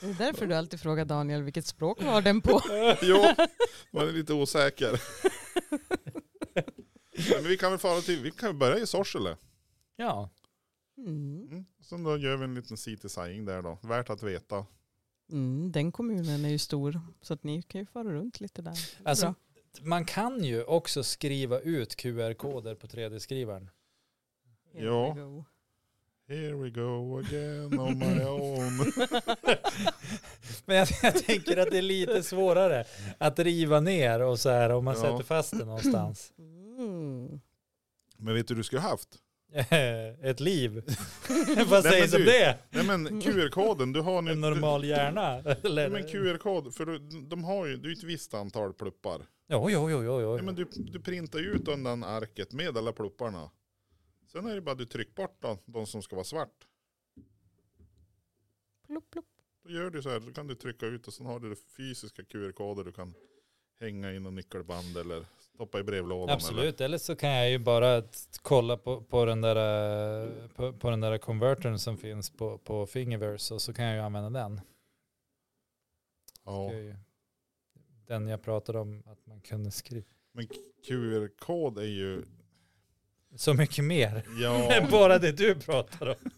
Det är därför du alltid frågar Daniel vilket språk var den på. Jo, man är lite osäker. Men vi kan väl fara till, vi kan väl börja i Sorsele. Ja. Mm. Mm. Sen då gör vi en liten sightseeing där då. Värt att veta. Mm, den kommunen är ju stor så att ni kan ju fara runt lite där. Alltså, Bra. Man kan ju också skriva ut QR-koder på 3D-skrivaren. Here ja. we go. oh Here we go again on my own. <laughs> Men jag, jag tänker att det är lite svårare att riva ner och så här om man Ja. sätter fast det någonstans. <laughs> Mm. Men vet du du skulle haft? Ett liv. <laughs> men Vad sägs om du- det? Nej men QR-koden, du har en, En normal hjärna? Eller? Nej men QR-kod, för du, de har ju, det är ju ett visst antal pluppar. Jo, jo, jo, jo, jo. Nej, men du, du printar ju ut undan arket med alla plupparna. Sen är det bara du trycker bort de, de som ska vara svart. Plopp, plopp. Då gör du så här, då kan du trycka ut och sen har du det fysiska QR-koder du kan hänga i någon nyckelband eller stoppa i brevlådan. Eller. Absolut, eller så kan jag ju bara t- kolla på, på den där eh, på, på den där convertern som finns på, på Fingiverse och så kan jag ju använda den. Ja. Det är ju Den jag pratade om att man kunde skriva. Men QR-kod är ju, Så mycket mer <laughs> ja, än bara det du pratar <laughs> om.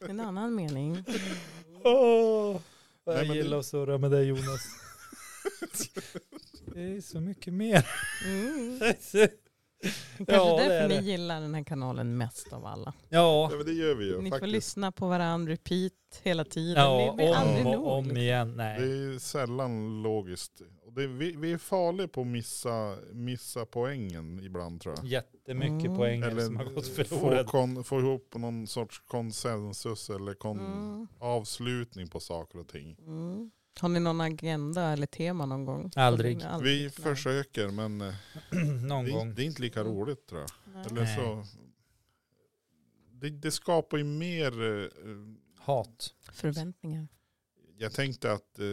En annan mening. Åh, vad Nej, jag men gillar det- att surra med dig Jonas. Det är så mycket <laughs> mer. <laughs> Mm. Kanske Ja, det därför är ni det. gillar den här kanalen mest av alla. Ja, ja men det gör vi ju Ni får faktiskt. lyssna på varandra repeat hela tiden. ja det blir aldrig om nog. och om liksom. igen. Det Nej. är sällan logiskt. Och det, vi, vi är farliga på att missa, missa poängen ibland tror jag. Jättemycket Mm. poänger som har gått få, förlorade. kon, få ihop någon sorts konsensus eller kon, Mm. avslutning på saker och ting. Mm. Har ni någon agenda eller tema någon gång? Alltså, Aldrig. Vi nej. försöker men eh, det, <clears throat> Någon är- gång. Mm. det är inte lika roligt tror jag. Nej. Eller Nej. så, det, det skapar ju mer, eh, Hat. Förväntningar. jag tänkte att eh,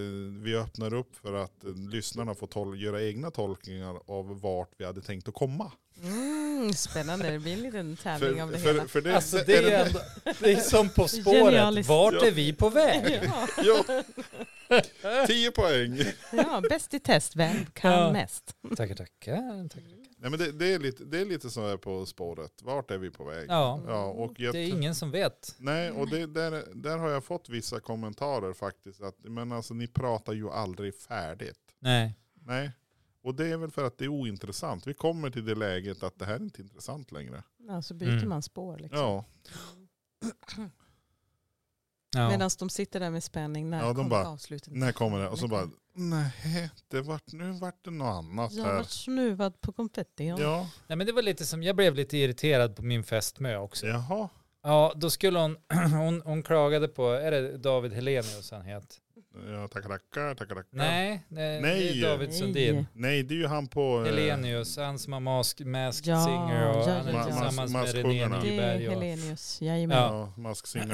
vi öppnar upp för att eh, lyssnarna får tol- göra egna tolkningar av vart vi hade tänkt att komma. Mm, spännande, det blir en liten tävling av <laughs> det För, för, hela. för det, Alltså det- det är det- är, ändå, det är som På spåret. Genialiskt. Vart är vi på väg? Ja, <laughs> Ja, 10 poäng. ja, bäst i test, vem <laughs> kan Ja. mest? Tackar, tackar. tackar. Nej, men det, det, är lite, det är lite så här på spåret. Vart är vi på väg? Ja, Ja, och jag det är tror- ingen som vet. Nej, och det, där, där har jag fått vissa kommentarer faktiskt. Att, men alltså ni pratar ju aldrig färdigt. Nej. Nej, och det är väl för att det är ointressant. Vi kommer till det läget att det här är inte intressant längre. Ja, så byter Mm. man spår. Liksom. Ja, Ja. Medan de sitter där med spänning, när Ja, de kommer bara, avslutet? när kommer det? Och så bara, nej, det vart, nu vart det något annat Jag har här. varit snuvad på konfetti. Ja. Ja, Nej, men det var lite som, jag blev lite irriterad på min fästmö också. jaha. Ja, då skulle hon, <clears throat> hon, hon klagade på, är det David Helenius han heter? Ja, tackar, tackar, tackar, tackar. Nej, nej, Nej. det är David Sundin. Nej. Nej, det är ju han på... eh, Helenius, han som har Mask, Masked Ja, Singer och ja, han är ja, ja. tillsammans med Mas- René Maskungarna. Det är Nyberg och Helenius, jajamän. Ja. Ja, masksingarna.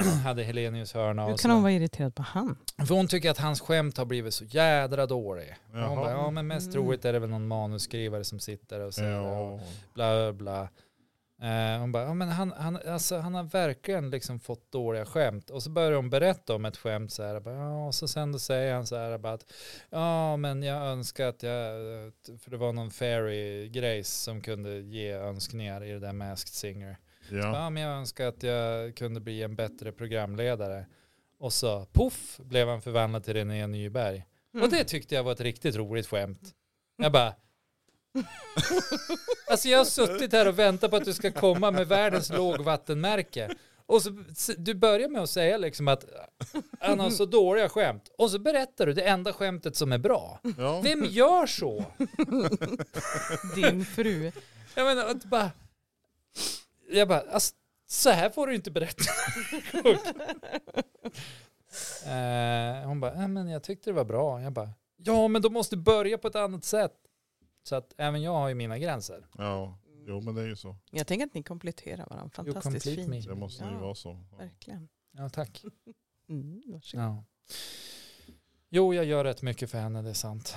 <clears throat> hade Helenius hörna. Hur Och kan hon så. vara irriterad på han? För hon tycker att hans skämt har blivit så jädra dålig. Och Hon Jaha. bara, ja men mest Mm. troligt är det väl någon manusskrivare som sitter och säger Ja. bla bla bla. Eh, hon bara, ja, men han, han, alltså, han har verkligen liksom fått dåliga skämt. Och så börjar hon berätta om ett skämt så här, bara, ja, och så sen då säger han så här bara att, ja men jag önskar att jag, eh, för det var någon fairy Grace som kunde ge önskningar i det där Masked Singer. Ja. Ja. men jag önskar att jag kunde bli en bättre programledare. Och så poff blev han förvandlad till René Nyberg. Mm. Och det tyckte jag var ett riktigt roligt skämt. Jag bara... <laughs> alltså jag har suttit här och väntat på att du ska komma med världens lågvattenmärke. Och så, s- du börjar med att säga liksom att han har så dåliga skämt. Och så berättar du det enda skämtet som är bra. Ja. Vem gör så? <laughs> Din fru. Jag menar, att bara... Jag bara, alltså, så här får du inte berätta. eh, hon bara, äh, men jag tyckte det var bra. Jag bara, ja men då måste du börja på ett annat sätt. Så att även jag har ju mina gränser. ja, jo men det är ju så. <laughs> Jag tänker att ni kompletterar varandra fantastiskt complete fint. me. Det måste ju Ja. vara så. Ja. Verkligen. Ja tack. Mm, varsågod. Ja. Jo, jag gör rätt mycket för henne, det är sant.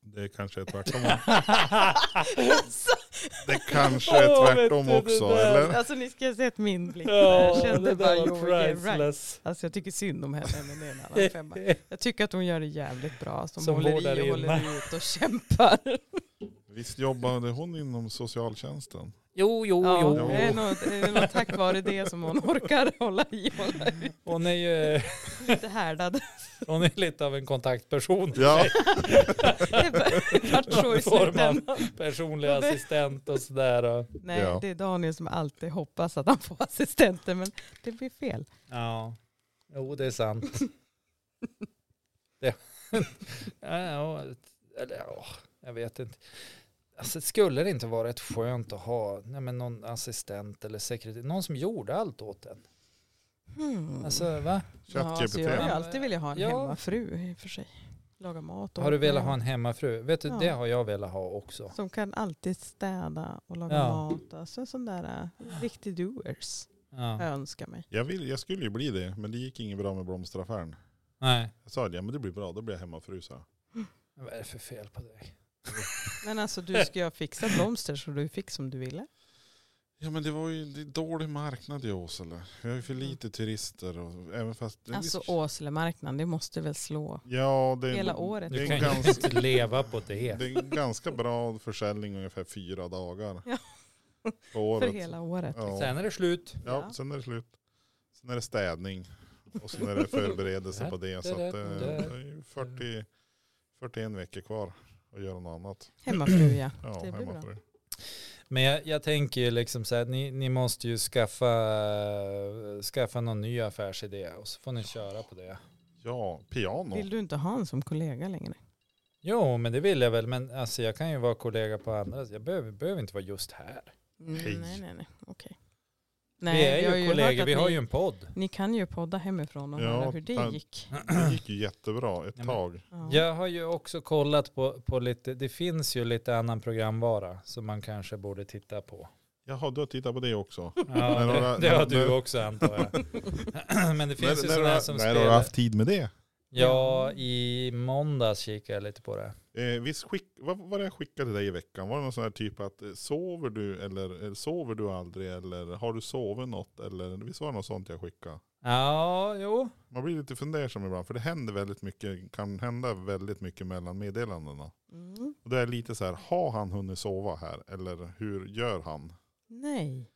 Det kanske är tvärtom. <laughs> <laughs> alltså, Det kanske är Åh, vet tvärtom du, det också, där. eller? alltså ni ska se ett min blick. där. jag kände bara, jo, you're right. priceless. Alltså jag tycker synd om henne, men det är en annan femma. <laughs> Jag tycker att hon gör det jävligt bra. Som, Som håller vårdar i och inne. håller ut och kämpar. Visst jobbade hon inom socialtjänsten? Jo, jo, Ja, jo. det är nog, det är nog tack vare det som hon orkar hålla i och hålla ut. Hon är ju Lite härdad. hon är lite av en kontaktperson. Ja, Det vart så i Någon form av- slutändan. personlig assistent och sådär. Och, Nej, Ja. det är Daniel som alltid hoppas att han får assistenter, men det blir fel. <laughs> ja. Jo, det är sant. Det, <laughs> ja, ja, eller, ja, jag vet inte. Alltså, skulle det inte vara ett skönt att ha nej, men någon assistent eller sekreterare, någon som gjorde allt åt en? Hmm. Alltså, va? ja, ChatGPT. så jag har ju alltid velat ha en Ja. hemmafru i och för sig. Laga mat och Har du velat ha en hemmafru? Vet du, Ja. det har jag velat ha också. Som kan alltid städa och laga Ja. mat. Alltså en sån där eh, riktig doers. Ja. Jag önskar mig. Jag, vill, jag skulle ju bli det, men det gick inget bra med blomsteraffären. Nej, Jag sa det, ja men det blir bra, då blir jag hemmafru så. vad är det för fel på dig? Men alltså <laughs> du ska jag fixa blomster så du fick som du ville. Ja men det var ju det är dålig marknad i Åsele. Vi har ju Mm. för lite turister och även fast... det är Alltså visst- Åselemarknaden, det måste väl slå Ja, det är, hela året. Det Du är kan ju ganska- inte leva på det. det är en ganska bra försäljning ungefär fyra dagar. Ja. På För året. hela året. Ja. Sen är det slut. ja, Ja. sen är det slut. Sen är det städning. Och sen är det förberedelse på det. Så att det, det är ju 40, 41 veckor kvar att göra något annat. Hemmafru ja. Ja, Det blir bra. hemmafru. Men jag, jag tänker ju liksom så här, ni, ni måste ju skaffa, skaffa någon ny affärsidé och så får ni köra på det. <clears throat> Ja, piano. Vill du inte ha en som kollega längre? Jo, men det vill jag väl, men alltså jag kan ju vara kollega på andra, jag behöver, behöver inte vara just här. Hej. Nej, nej, nej. Okej. vi Nej, jag är har ju hört kollegor, att vi har ni, ju en podd. ni kan ju podda hemifrån och Ja, höra hur det fan. gick. Det gick ju jättebra ett Ja, men- tag. Ja. Jag har ju också kollat på, på lite, det finns ju lite annan programvara som man kanske borde titta <laughs> på. Jaha, du har tittat på det också. Ja, Men har det, du- det har men- du men- också antar jag. <clears throat> Men det finns när, ju när, sådana har- här som när har du spelar. haft tid med det? Ja, i måndags kikade jag lite på det. Eh, visst skick, vad vad var det jag skickade dig i veckan? Var det någon sån här typ att eh, sover du eller eh, sover du aldrig eller har du sovit något? Eller, visst var det något sånt jag skickade? Ja, jo. Man blir lite fundersam ibland för det händer väldigt mycket, kan hända väldigt mycket mellan meddelandena. Mm. Och det är lite så här, har han hunnit sova här eller hur gör han? Nej.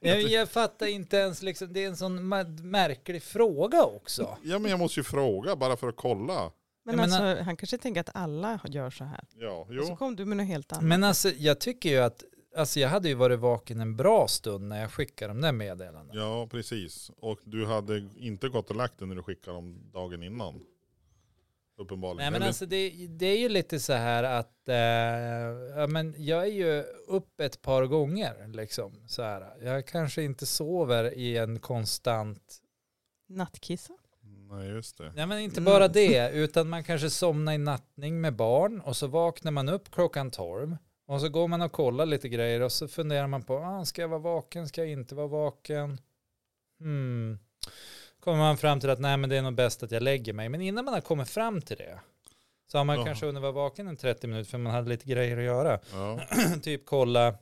Jag, jag fattar inte ens, liksom, det är en sån ma- märklig fråga också. Ja men jag måste ju fråga bara för att kolla. Men Jag alltså, menar- han kanske tänker att alla gör så här. Ja, Och så jo. kom du med något helt annat. Men alltså, jag tycker ju att, alltså jag hade ju varit vaken en bra stund när jag skickade de där meddelandena. Ja precis. Och du hade inte gått och lagt dig när du skickade dem dagen innan. Uppenbarligen. Nej men Eller- alltså det, det är ju lite så här att, eh, ja men jag är ju upp ett par gånger liksom så här. Jag kanske inte sover i en konstant, Nattkissa. Nej just det. nej men inte Mm. bara det, utan man kanske somnar i nattning med barn och så vaknar man upp klockan tolv och så går man och kollar lite grejer och så funderar man på, ah, ska jag vara vaken, ska jag inte vara vaken? Hmm. Kommer man fram till att nej men det är nog bäst att jag lägger mig, men innan man har kommit fram till det så har man Ja. kanske hunnit vara vaken en 30 minuter för man hade lite grejer att göra. <clears throat> Ja. typ kolla,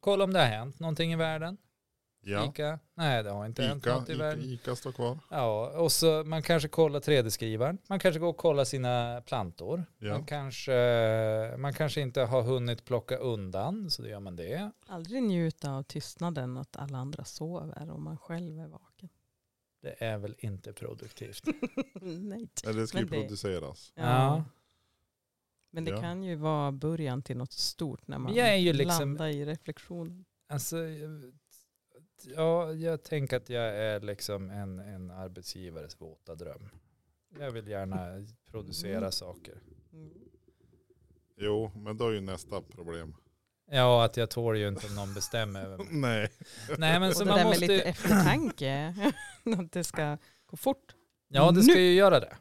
kolla om det har hänt någonting i världen. ja. Ica? Nej, det har inte hänt Ica, något i Ica, världen. Ica står kvar. Ja, och så man kanske kollar 3D-skrivaren. Man kanske går och kollar sina plantor. Ja. Man, kanske, man kanske inte har hunnit plocka undan, så då gör man det. Aldrig njuta av tystnaden att alla andra sover och man själv är vaken. Det är väl inte produktivt. <laughs> Nej. Eller det ska ju Men det- produceras. Ja. Men det Ja. kan ju vara början till något stort när man Jag är ju liksom- landar i reflektion. Alltså, jag- ja, jag tänker att jag är liksom en, en arbetsgivares våta dröm. Jag vill gärna producera Mm. saker. Mm. Jo, men då är ju nästa <laughs> problem. Ja, att jag tål ju inte om någon bestämmer över mig. <laughs> Nej. Nej, men Och så det där man med lite måste... eftertanke, <laughs> att det ska gå fort. Ja, det ska ju göra det.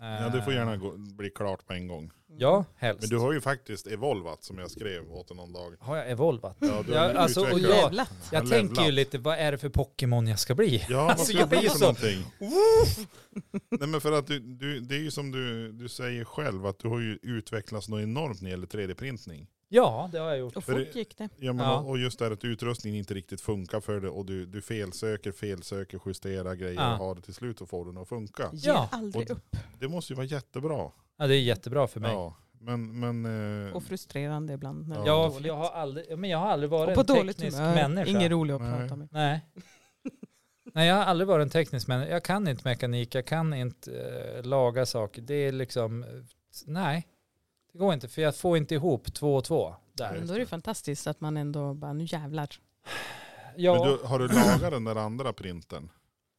Ja, det får Ah. gärna gå, bli klart på en gång. Mm. Ja, helst. Men du har ju faktiskt evolvat som jag skrev åt dig <laughs> någon dag. Har jag evolvat? Ja, du har Ja, alltså, och utvecklat. jag- Jävlar. Jag Har tänker ju levlat. lite, vad är det för Pokémon jag ska bli? Ja, vad Alltså, ska jag det blir bli för så- någonting? <laughs> Nej men för att du, du, det är ju som du, du säger själv att du har ju utvecklats något enormt när det gäller 3D-printning. Ja, det har jag gjort. Och För det- fort gick det. Ja, men Ja. Och, och just det här att utrustningen inte riktigt funkar för det och du, du felsöker, felsöker, justerar grejer Ja. och har det till slut och får den att funka. Ge Ja. aldrig Och- upp. Det måste ju vara jättebra. Ja, det är jättebra för mig. Ja, Ja, men, men eh, Och frustrerande ibland. När Ja. det går för dåligt. jag har aldrig, ja, men jag har aldrig varit och på en dåligt teknisk humör. människa. Ingen rolig att Nej. prata med. Nej. <laughs> Nej, jag har aldrig varit en teknisk människa. Jag kan inte mekanik, jag kan inte eh, laga saker. Det är liksom, eh, nej. Det går inte, för jag får inte ihop två och två. Där. Nej. Men då är det fantastiskt att man ändå bara, nu jävlar. Ja, Men du, har du lagat den där andra printen?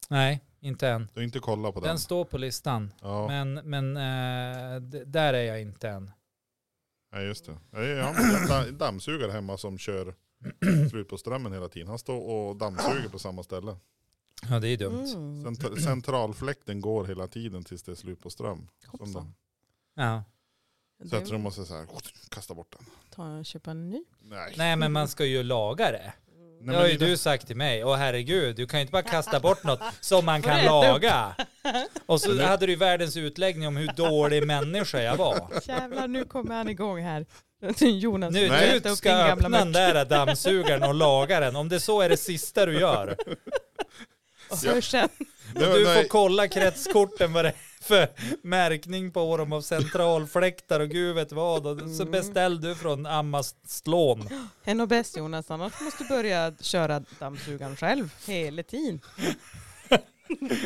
nej. Inte än. Du har inte kollat på den? Den står på listan. ja. Men, men eh, d- där är jag inte än. Nej just det. Jag jag har en dammsugare hemma som kör <clears throat> slut på strömmen hela tiden. Han står och dammsuger på samma ställe. Ja, det är dumt. <clears throat> Mm. Cent- centralfläkten går hela tiden tills det är slut på ström. Som Hoppsan. den. Ja. Så jag tror Det de måste så här, kasta bort den. tar jag köpa en <laughs> ny. Nej. Nej, men man ska ju laga det. Nej, det har men ju det- du sagt till mig. Åh herregud, du kan ju inte bara <laughs> kasta bort något som man Får kan äta upp. laga. Och så Men nu- hade du ju världens utläggning om hur dålig människa jag <laughs> var. Alltså, Jävlar, nu kommer han igång här. <laughs> Jonas, Nu Nej. du ska öppna den där dammsugaren och laga den. Om det så är det sista du gör. Ja. Så sen, <laughs> det var- <laughs> Du nej, får kolla kretskorten vad det är för märkning på dem av centralfläktar och gud vet vad. Och Mm. så beställ du från Ammastlån. en och bäst Jonas, annars måste du börja köra dammsugaren själv hela tiden.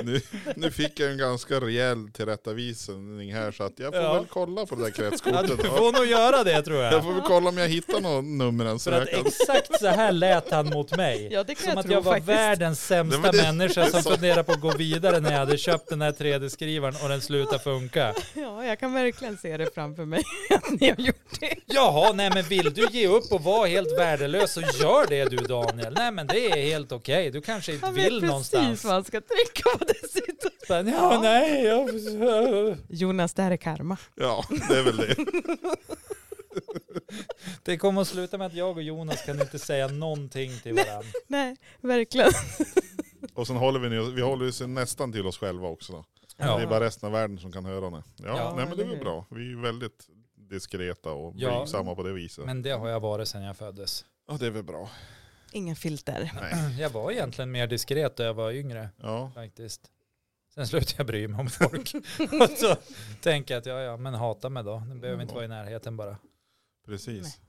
nu, nu fick jag en ganska rejäl tillrättavisning här så att jag får Ja. väl kolla på det där Ja, kretskortet. du då. får nog göra det tror Jag jag. får väl kolla om jag hittar någon nummer än så För att jag kan. exakt så här lät han mot mig. Ja, det kan Som jag att tro jag var faktiskt. världens sämsta Nej, men det- människa det är som <laughs> så. funderade på att gå vidare när jag hade köpt den här 3D-skrivaren och den slutade funka. <laughs> Ja, jag kan verkligen se det framför mig <laughs> att ni har gjort det. Jaha, nej men vill du ge upp och vara helt värdelös så gör det du Daniel. Nej men det är helt okej, du kanske inte Han vill vet precis någonstans. vad han ska trycka på dessutom. Men, ja, <laughs> nej, jag... Jonas, det här är karma. Ja, det är väl det. Det kommer att sluta med att jag och Jonas kan inte säga någonting till <laughs> varandra. Nej, verkligen. Och sen håller vi, nu- vi håller oss nästan till oss själva också. Då. Ja. Det är bara resten av världen som kan höra det. Ja, Ja, nej, men det är eller väl hur? bra. Vi är väldigt diskreta och Ja. blygsamma på det viset. Men det har jag varit sedan jag föddes. <clears throat> Ja, det är väl bra. Inga filter. Nej. Jag var egentligen mer diskret när jag var yngre Ja, faktiskt. Sen slutade jag bry mig om folk. och så tänker jag att ja, ja, men hata mig då. Nu behöver inte vara i närheten bara. precis.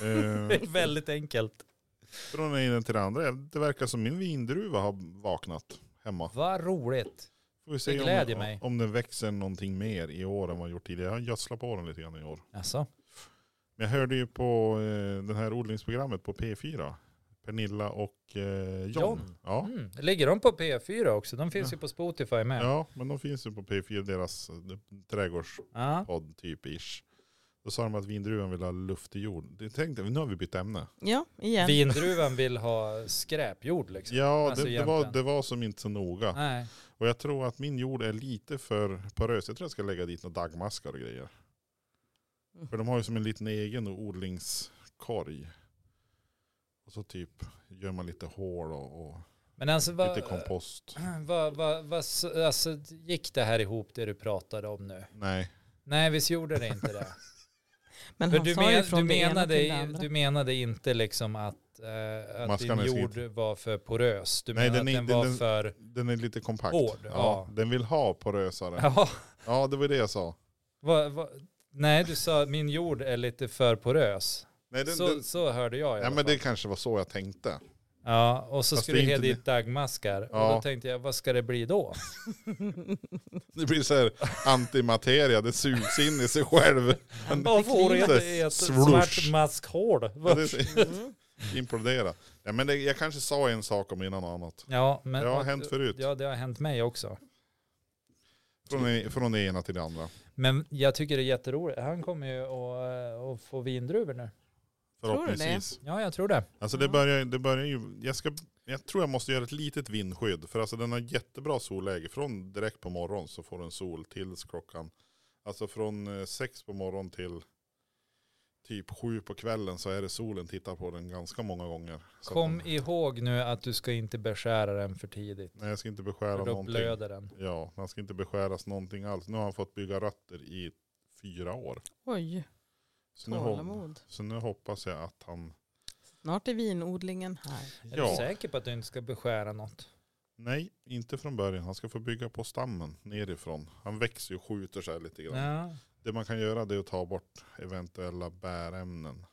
Det Eh, är väldigt enkelt. från den ena till den andra. Det verkar som min vindruva har vaknat hemma. Vad roligt. Får vi se Det om- gläder mig. Om den växer någonting mer i år än vad jag gjort tidigare. Jag har gödslat på den lite grann i år. Alltså, Men jag hörde ju på eh, det här odlingsprogrammet på P4. Pernilla och eh, John. John. Ja. mm. Ligger de på P4 också? De finns ju på Spotify med. Ja. Ja, men de finns ju på P4, deras eh, trädgårdspodd typ ish. Då sa de att vindruvan vill ha luft i jord. Det tänkte jag, nu har vi bytt ämne. Ja, igen. Vindruvan vill ha skräpjord liksom. Ja, Alltså det, det, var, egentligen. det var som inte så noga. Nej. Och jag tror att min jord är lite för porös. Jag tror jag ska lägga dit några dagmaskar och grejer. Mm. För de har ju som en liten egen odlingskorg. Och så typ gör man lite hål och, och Men alltså vad, lite kompost. <clears throat> vad, vad, vad, alltså, gick det här ihop det du pratade om nu? Nej, Nej, visst gjorde det inte det. Men För han du, sa ju men, från du, det ena till det menade, andra. du menade inte liksom att, eh, att Maskan din är skit. jord var för porös. Du Nej, menade den att den är- var den- för... den är lite kompakt. Hård, ja. Den vill ha porösare. Ja, Ja, det var det jag sa. vad, vad, nej, du sa min jord är lite för porös. Nej, den, så, den, så hörde jag i ja, alla men fall. det kanske var så jag tänkte. Ja, och så Fast skulle du det är ge inte dit dagmaskar. Och Ja. då tänkte jag, vad ska det bli <laughs> då? Det blir så här antimateria, det sugs in i <laughs> sig själv. Vad får kliar jag sig. i ett Svrush. svart maskhål? Ja, det är- Mm. Implodera. Ja, men det, jag kanske sa en sak om innan och annat. Ja, men, Det har hänt förut. Ja, det har hänt mig också. Från, från det ena till det andra. Men jag tycker det är jätteroligt. Han kommer ju att, eh, att få vindruvor nu. du det? Förhoppningsvis. Ja, jag tror det. Alltså det Ja. börjar, det börjar ju, jag, ska, jag tror jag måste göra ett litet vindskydd. För alltså den har jättebra solläge. Från direkt på morgonen så får den sol tills klockan. Alltså från eh, sex på morgonen till typ sju på kvällen så är det solen tittar på den ganska många gånger. Så att Kom den- ihåg nu att du ska inte beskära den för tidigt. Nej jag ska inte För beskära då någonting. blöder den. Ja, han ska inte beskäras någonting alls. Nu har han fått bygga rötter i fyra år. <laughs> Oj, Så nu, hop- tålamod. så nu hoppas jag att han... Snart är vinodlingen här. Är du Ja, säker på att du inte ska beskära något? nej, inte från början. Han ska få bygga på stammen nerifrån. Han växer ju och skjuter sig lite grann. Ja. Det man kan göra det är att ta bort eventuella bärämnen.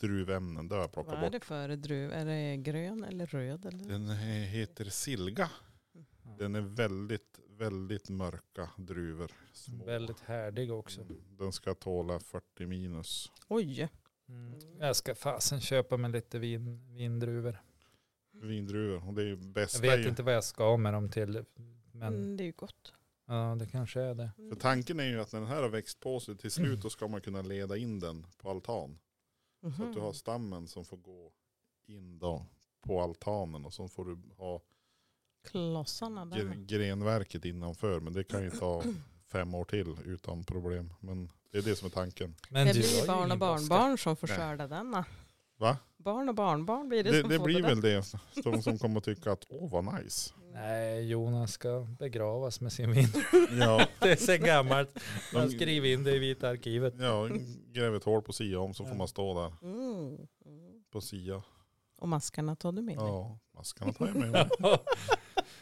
Druvämnen, det har jag Vad plockat är bort. det för druv? Är det grön eller röd? Eller? Den eh, heter silga. Den är väldigt, väldigt mörka druvor. Små. Mm, Väldigt härdig också. Den ska tåla 40 minus. Oj, Mm. Mm. Jag ska fasen köpa mig lite vin, vindruvor. vindruvor. Och det är ju Jag bästa vet ju. inte vad jag ska med dem till. Men Mm, det är ju gott. ja, det kanske är det. För Mm. tanken är ju att när den här har växt på sig till slut då ska man kunna leda in den på altan. Så Mhm. att du Mm. har stammen som får gå in då på altanen och så får du ha Klossarna där. gre- grenverket innanför. Men det kan ju ta fem år till utan problem. Men det är det som är tanken. Men det du har ju blir barn ingen och brådska. barnbarn som får Nej. skörda denna. Va? Barn och barnbarn blir det, Det, som det får blir det väl det. De som kommer tycka att åh vad nice. Nej, Jonas ska begravas med sin vind. <laughs> Ja, Det är så gammalt. Man de, skriver in det i Vita arkivet. ja gräv ett hål på Sia om så får man stå där Mm. Mm. på Sia. Och maskarna tar du med dig? Ja, maskarna tar jag med <laughs> mig.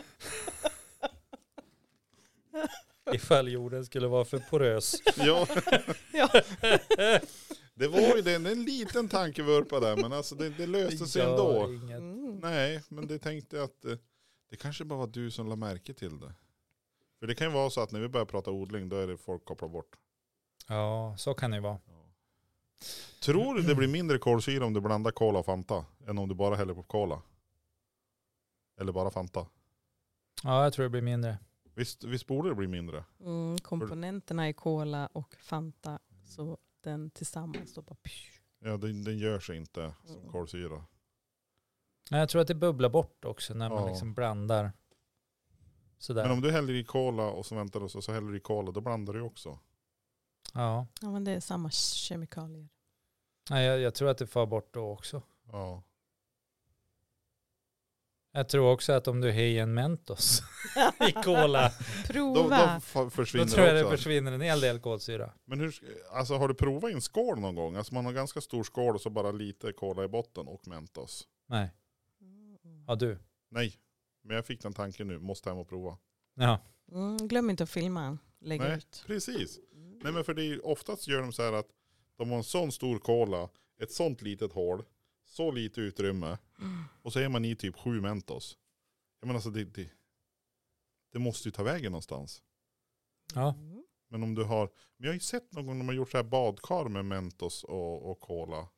<laughs> Ifall jorden skulle vara för porös. Ja. Ja. <laughs> Det var ju det, en liten tankevurpa där men alltså det, det löste sig Gör ändå. inget. Mm. Nej, men det tänkte jag att eh, det kanske bara var du som la märke till det. För det kan ju vara så att när vi börjar prata odling då är det folk kopplar bort. Ja, så kan det ju vara. Tror du det blir mindre kolsyra om du blandar cola och Fanta än om du bara häller på cola? Eller bara Fanta? Ja, jag tror det blir mindre. Visst, visst borde det bli mindre? Mm. Komponenterna i Cola och Fanta. Så den tillsammans då bara... pju. Ja, den, den gör sig inte som Mm. kolsyra. Nej, jag tror att det bubblar bort också när man Ja. liksom blandar. Sådär. Men om du häller i cola och så väntar du och så- så häller du i cola, då blandar du ju också. Ja, Ja men det är samma kemikalier. Nej, jag, jag tror att det far bort då också. Ja. Jag tror också att om du har i en Mentos <laughs> i cola, Då, då Prova. fa- då försvinner tror jag det det också. försvinner en hel del kolsyra. Men hur, alltså har du provat i en skål någon gång? Alltså man har ganska stor skål och så bara lite cola i botten och Mentos. Nej, ja du. Nej, men jag fick den tanken nu. Måste hem och prova. Ja. Mm. Glöm inte att filma. Lägg Nej. ut. Precis. Mm. Nej men för det är ju oftast gör de så här att de har en sån stor cola, ett sånt litet hål, så lite utrymme och så är man i typ sju Mentos. Jag menar alltså det, det, det måste ju ta vägen någonstans. Ja. Mm. Men om du har, men jag har ju sett någon gång de har gjort så här badkar med Mentos och, och cola.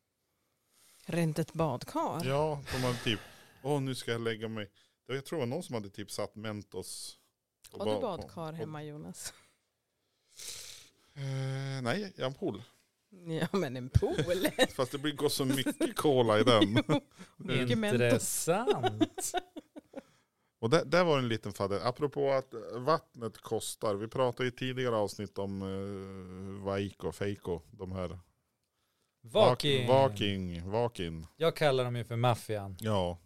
Rent ett badkar. Ja, de hade typ, åh nu ska jag lägga mig. Det var- Jag tror det var någon som hade typ satt Mentos. och Har du bad- badkar och- hemma Jonas? <laughs> Eh, nej, jag har en pool. Ja men en <laughs> pool. Fast det blir gå så mycket cola i den. Mm. Mycket <laughs> Intressant. och där, där var en liten fadder. Apropå att eh, vattnet kostar. Vi pratade i tidigare avsnitt om eh, Vaiko, Feiko. De här. Vaking. Vaking. Vakin. Jag kallar dem ju för maffian. Ja.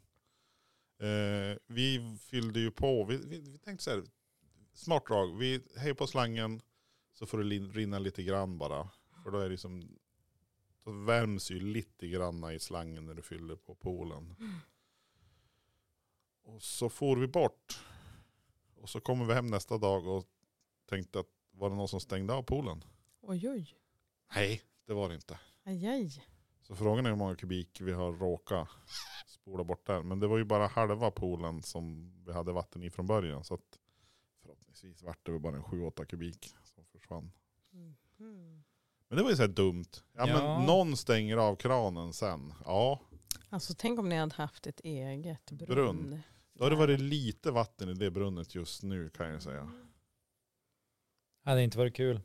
Eh, vi fyllde ju på. Vi, vi, vi tänkte så här. Smart drag. Vi hej på slangen. Så får det lin- rinna lite grann bara. För då är det som. Då värms ju lite grann i slangen när du fyller på poolen. Och så for vi bort. Och så kommer vi hem nästa dag och tänkte att var det någon som stängde av poolen? Oj oj. Nej, det var det inte. Aj, aj. Så frågan är hur många kubik vi har råkat spola bort där. Men det var ju bara halva poolen som vi hade vatten i från början. Så att förhoppningsvis vart det väl bara en 7-8 kubik som försvann. Mm. Mhm. Men det var ju så här dumt. Ja. Ja, men någon stänger av kranen sen. Ja, Alltså tänk om ni hade haft ett eget brunn. Brunn. då har det varit lite vatten i det brunnet just nu kan jag säga. Hade inte varit kul.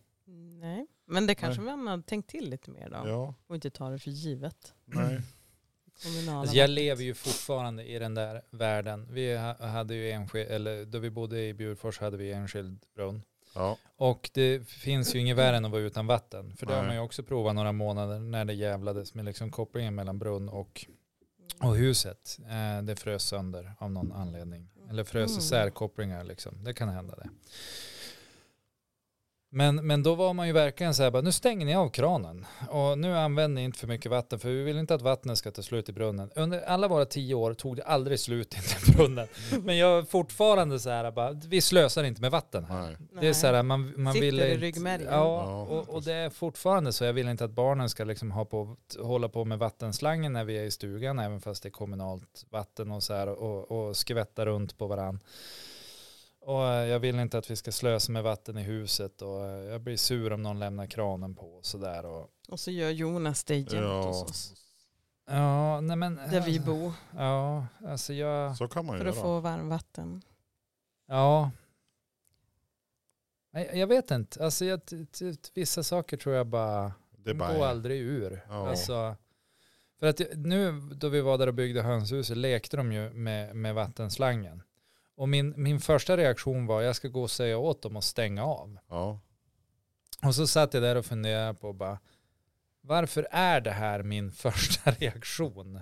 Nej, men det kanske man hade tänkt till lite mer då. Ja, Och inte ta det för givet. nej. Kommunala Alltså jag vattnet. lever ju fortfarande i den där världen. Vi ha- hade ju enskild, eller då vi bodde i Bjurfors hade vi enskild brunn. Ja, Och det finns ju inget värre än att vara utan vatten. För det har Nej. man ju också provat några månader när det jävlades med liksom kopplingen mellan brunn och, Mm. och huset. Eh, det frös sönder av någon anledning. Eller frös Mm. isär kopplingar liksom. Det kan hända det. Men, men då var man ju verkligen så här, bara, nu stänger ni av kranen och nu använder ni inte för mycket vatten för vi vill inte att vattnet ska ta slut i brunnen. Under alla våra tio år tog det aldrig slut i den brunnen. Men jag är fortfarande så här, bara, vi slösar inte med vatten här. nej. Det är Nej. så här, man, man Sitter vill i inte- ryggmärgen. Ja, Ja, och, och det är fortfarande så. Jag vill inte att barnen ska liksom ha på, hålla på med vattenslangen när vi är i stugan, även fast det är kommunalt vatten och så här, och, och skvätta runt på varann. Och eh, jag vill inte att vi ska slösa med vatten i huset och eh, jag blir sur om någon lämnar kranen på och så där. Och, Och så gör Jonas det <clears throat> jämt Ja. hos oss. Ja, nej men. eh, där vi bor Ja, alltså jag. Så kan man ju för att göra. få varmvatten. Ja. Nej, Jag vet inte. Alltså jag, t- t- vissa saker tror jag bara. Det De är bara går aldrig ur. Ja. Alltså, för att nu då vi var där och byggde hönshuset lekte de ju med, med vattenslangen. Och min, min första reaktion var jag ska gå och säga åt dem att stänga av. Ja. Och så satt jag där och funderade på bara varför är det här min <laughs> första reaktion?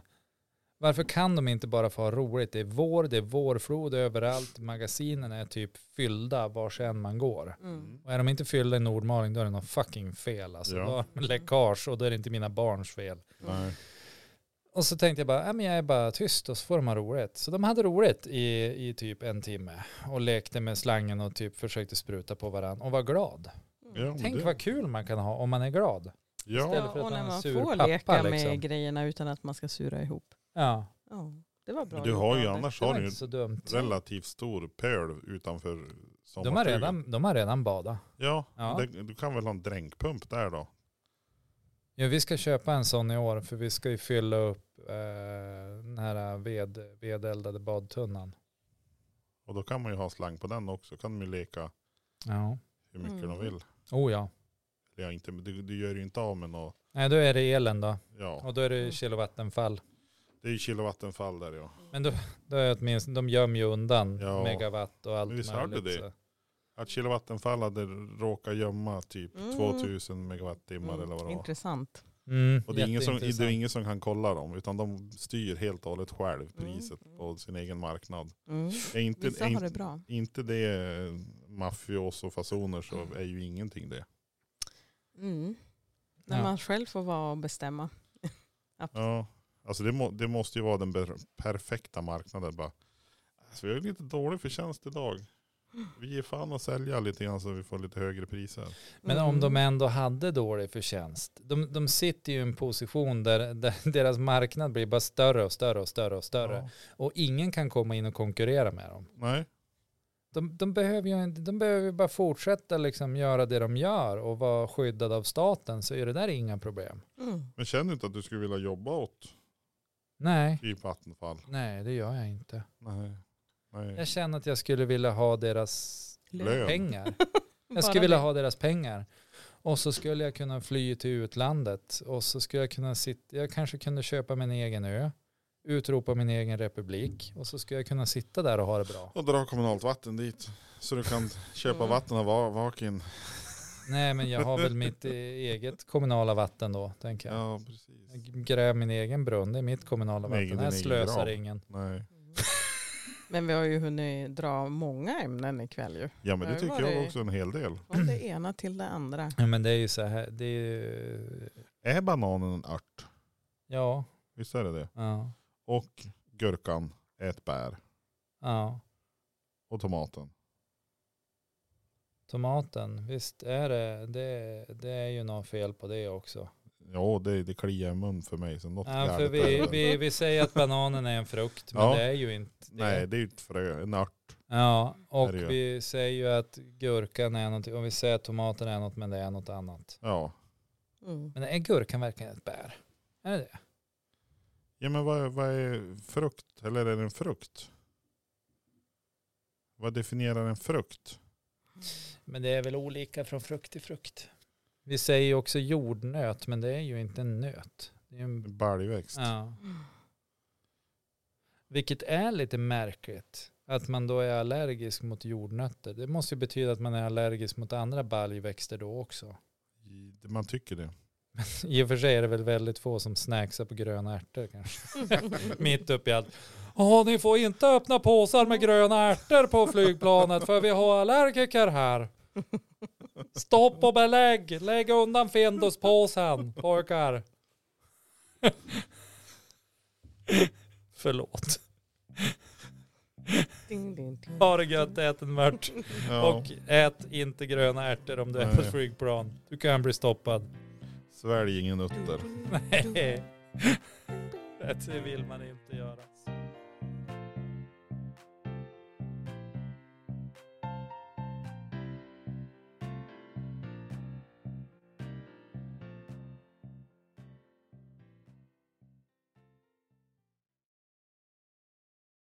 Varför kan de inte bara få ha roligt? Det är vår, det är vårflod överallt. Magasinen är typ fyllda var sen man går. Mm. Och är de inte fyllda i Nordmaling då är det något fucking fel. Alltså, Ja. Då har de läckage och då är det inte mina barns fel. Mm. Mm. Nej. Och så tänkte jag bara, "Ja, men jag är bara tyst och så får de ha roligt. Så de hade roligt i, i typ en timme och lekte med slangen och typ försökte spruta på varandra och var glad. Mm. Ja, men Tänk Oh, det- vad kul man kan ha om man är glad. Ja, istället för att och ha när en man sur får pappa, leka liksom. med grejerna utan att man ska sura ihop. Ja, Ja, det var bra. du har ju Robert. annars det har var du ju inte en så dumt. relativt stor pöl utanför De har, sommarstugan. redan, de har redan badat. Ja, Ja. men Det, du kan väl ha en dränkpump där då? Ja, vi ska köpa en sån i år för vi ska ju fylla upp eh, den här ved, vedeldade badtunnan. Och då kan man ju ha slang på den också. kan de ju leka Ja, hur mycket Mm. de vill. oh ja. Ja, inte, du, du gör ju inte av med något. Nej, då är det elen då. Ja, Och då är Mm. det kilowattenfall. det är ju kilowattenfall där ja. Men då, då är det åtminstone, de gömmer ju undan Ja. megawatt och allt Men visst hade det? så. Att kilowattenfall hade råkat gömma typ Mm. 2000 megawattimmar eller vad det var. Intressant. Mm, Och det är, ingen som, det är jätteintressant. ingen som kan kolla dem, utan de styr helt och hållet själv priset Mm. på sin egen marknad. Mm. Är inte, Vissa är har det inte, bra. inte det eh, mafioso-fasoner så är ju ingenting det. Mm. När Ja. man själv får vara och bestämma. Ja, alltså det, må, det måste ju vara den ber- perfekta marknaden. Bara, alltså vi har ju lite dålig förtjänst idag. Vi ger fan och sälja lite grann så vi får lite högre priser. Men Mm. om de ändå hade dålig förtjänst. De, de sitter ju i en position där, där <laughs> deras marknad blir bara större och större och större och större. Ja. Och ingen kan komma in och konkurrera med dem. Nej, De, de, behöver ju, inte- de behöver ju bara fortsätta liksom göra det de gör och vara skyddade av staten så är det där inga problem. Mm. men känner du inte att du skulle vilja jobba åt Nej, typ Vattenfall? nej det gör jag inte. Nej. Nej. Jag känner att jag skulle vilja ha deras Lön. pengar. Bara Jag skulle vilja det. ha deras pengar. Och så skulle jag kunna fly till utlandet. Och så skulle jag kunna sitta, jag kanske kunde köpa min egen ö, utropa min egen republik. Och så skulle jag kunna sitta där och ha det bra. Och dra kommunalt vatten dit. Så du kan köpa Mm. vatten av va- Vakin. Nej men jag har <laughs> väl mitt eh, eget kommunala vatten då, tänker jag. Ja, precis. Jag gräver min egen brunn, det är mitt kommunala Nej, vatten. din Här egen slösar grav. ingen. Nej. Men vi har ju hunnit dra många ämnen ikväll ju. Ja men det Ja, det tycker var jag det. också en hel del. <clears throat> Från det ena till det andra. Ja, men det är ju så här, det är ju, Är bananen en ört? ja, Visst är det det? ja, Och gurkan är ett bär. ja. Och tomaten. Tomaten, visst är det, det, det är ju något fel på det också. Ja, det, det kliar i mun för mig. Så något Ja, för jävligt vi, är det. vi, vi säger att bananen är en frukt, men Ja. det är ju inte det. Nej, det är ju ett frö, en ört. Ja, och är det ju. vi säger ju att gurkan är något, och vi säger att tomaten är något, men det är något annat. Ja. Mm. Men är gurkan verkligen ett bär? Är det det? ja, men vad, vad är frukt? Eller är det en frukt? Vad definierar en frukt? Men det är väl olika från frukt till frukt. Vi säger ju också jordnöt, men det är ju inte en nöt. Det är en, En baljväxt. ja. Vilket är lite märkligt, att man då är allergisk mot jordnötter. Det måste ju betyda att man är allergisk mot andra baljväxter då också. Man tycker det. I och för sig är det väl väldigt få som snacksar på gröna ärtor kanske. <laughs> Mitt uppe i allt. Åh, ni får inte öppna påsar med gröna ärtor på flygplanet för vi har allergiker här. Stopp och belägg. Lägg undan Finduspåsen, pojkar. Förlåt. Ding, ding, ding. Ha det gött, ät en mört. Ja, Och ät inte gröna ärtor om du är på ett Nej. flygplan. Du kan bli stoppad. <laughs> Svälj ingen nötter. Nej, det vill man inte göra.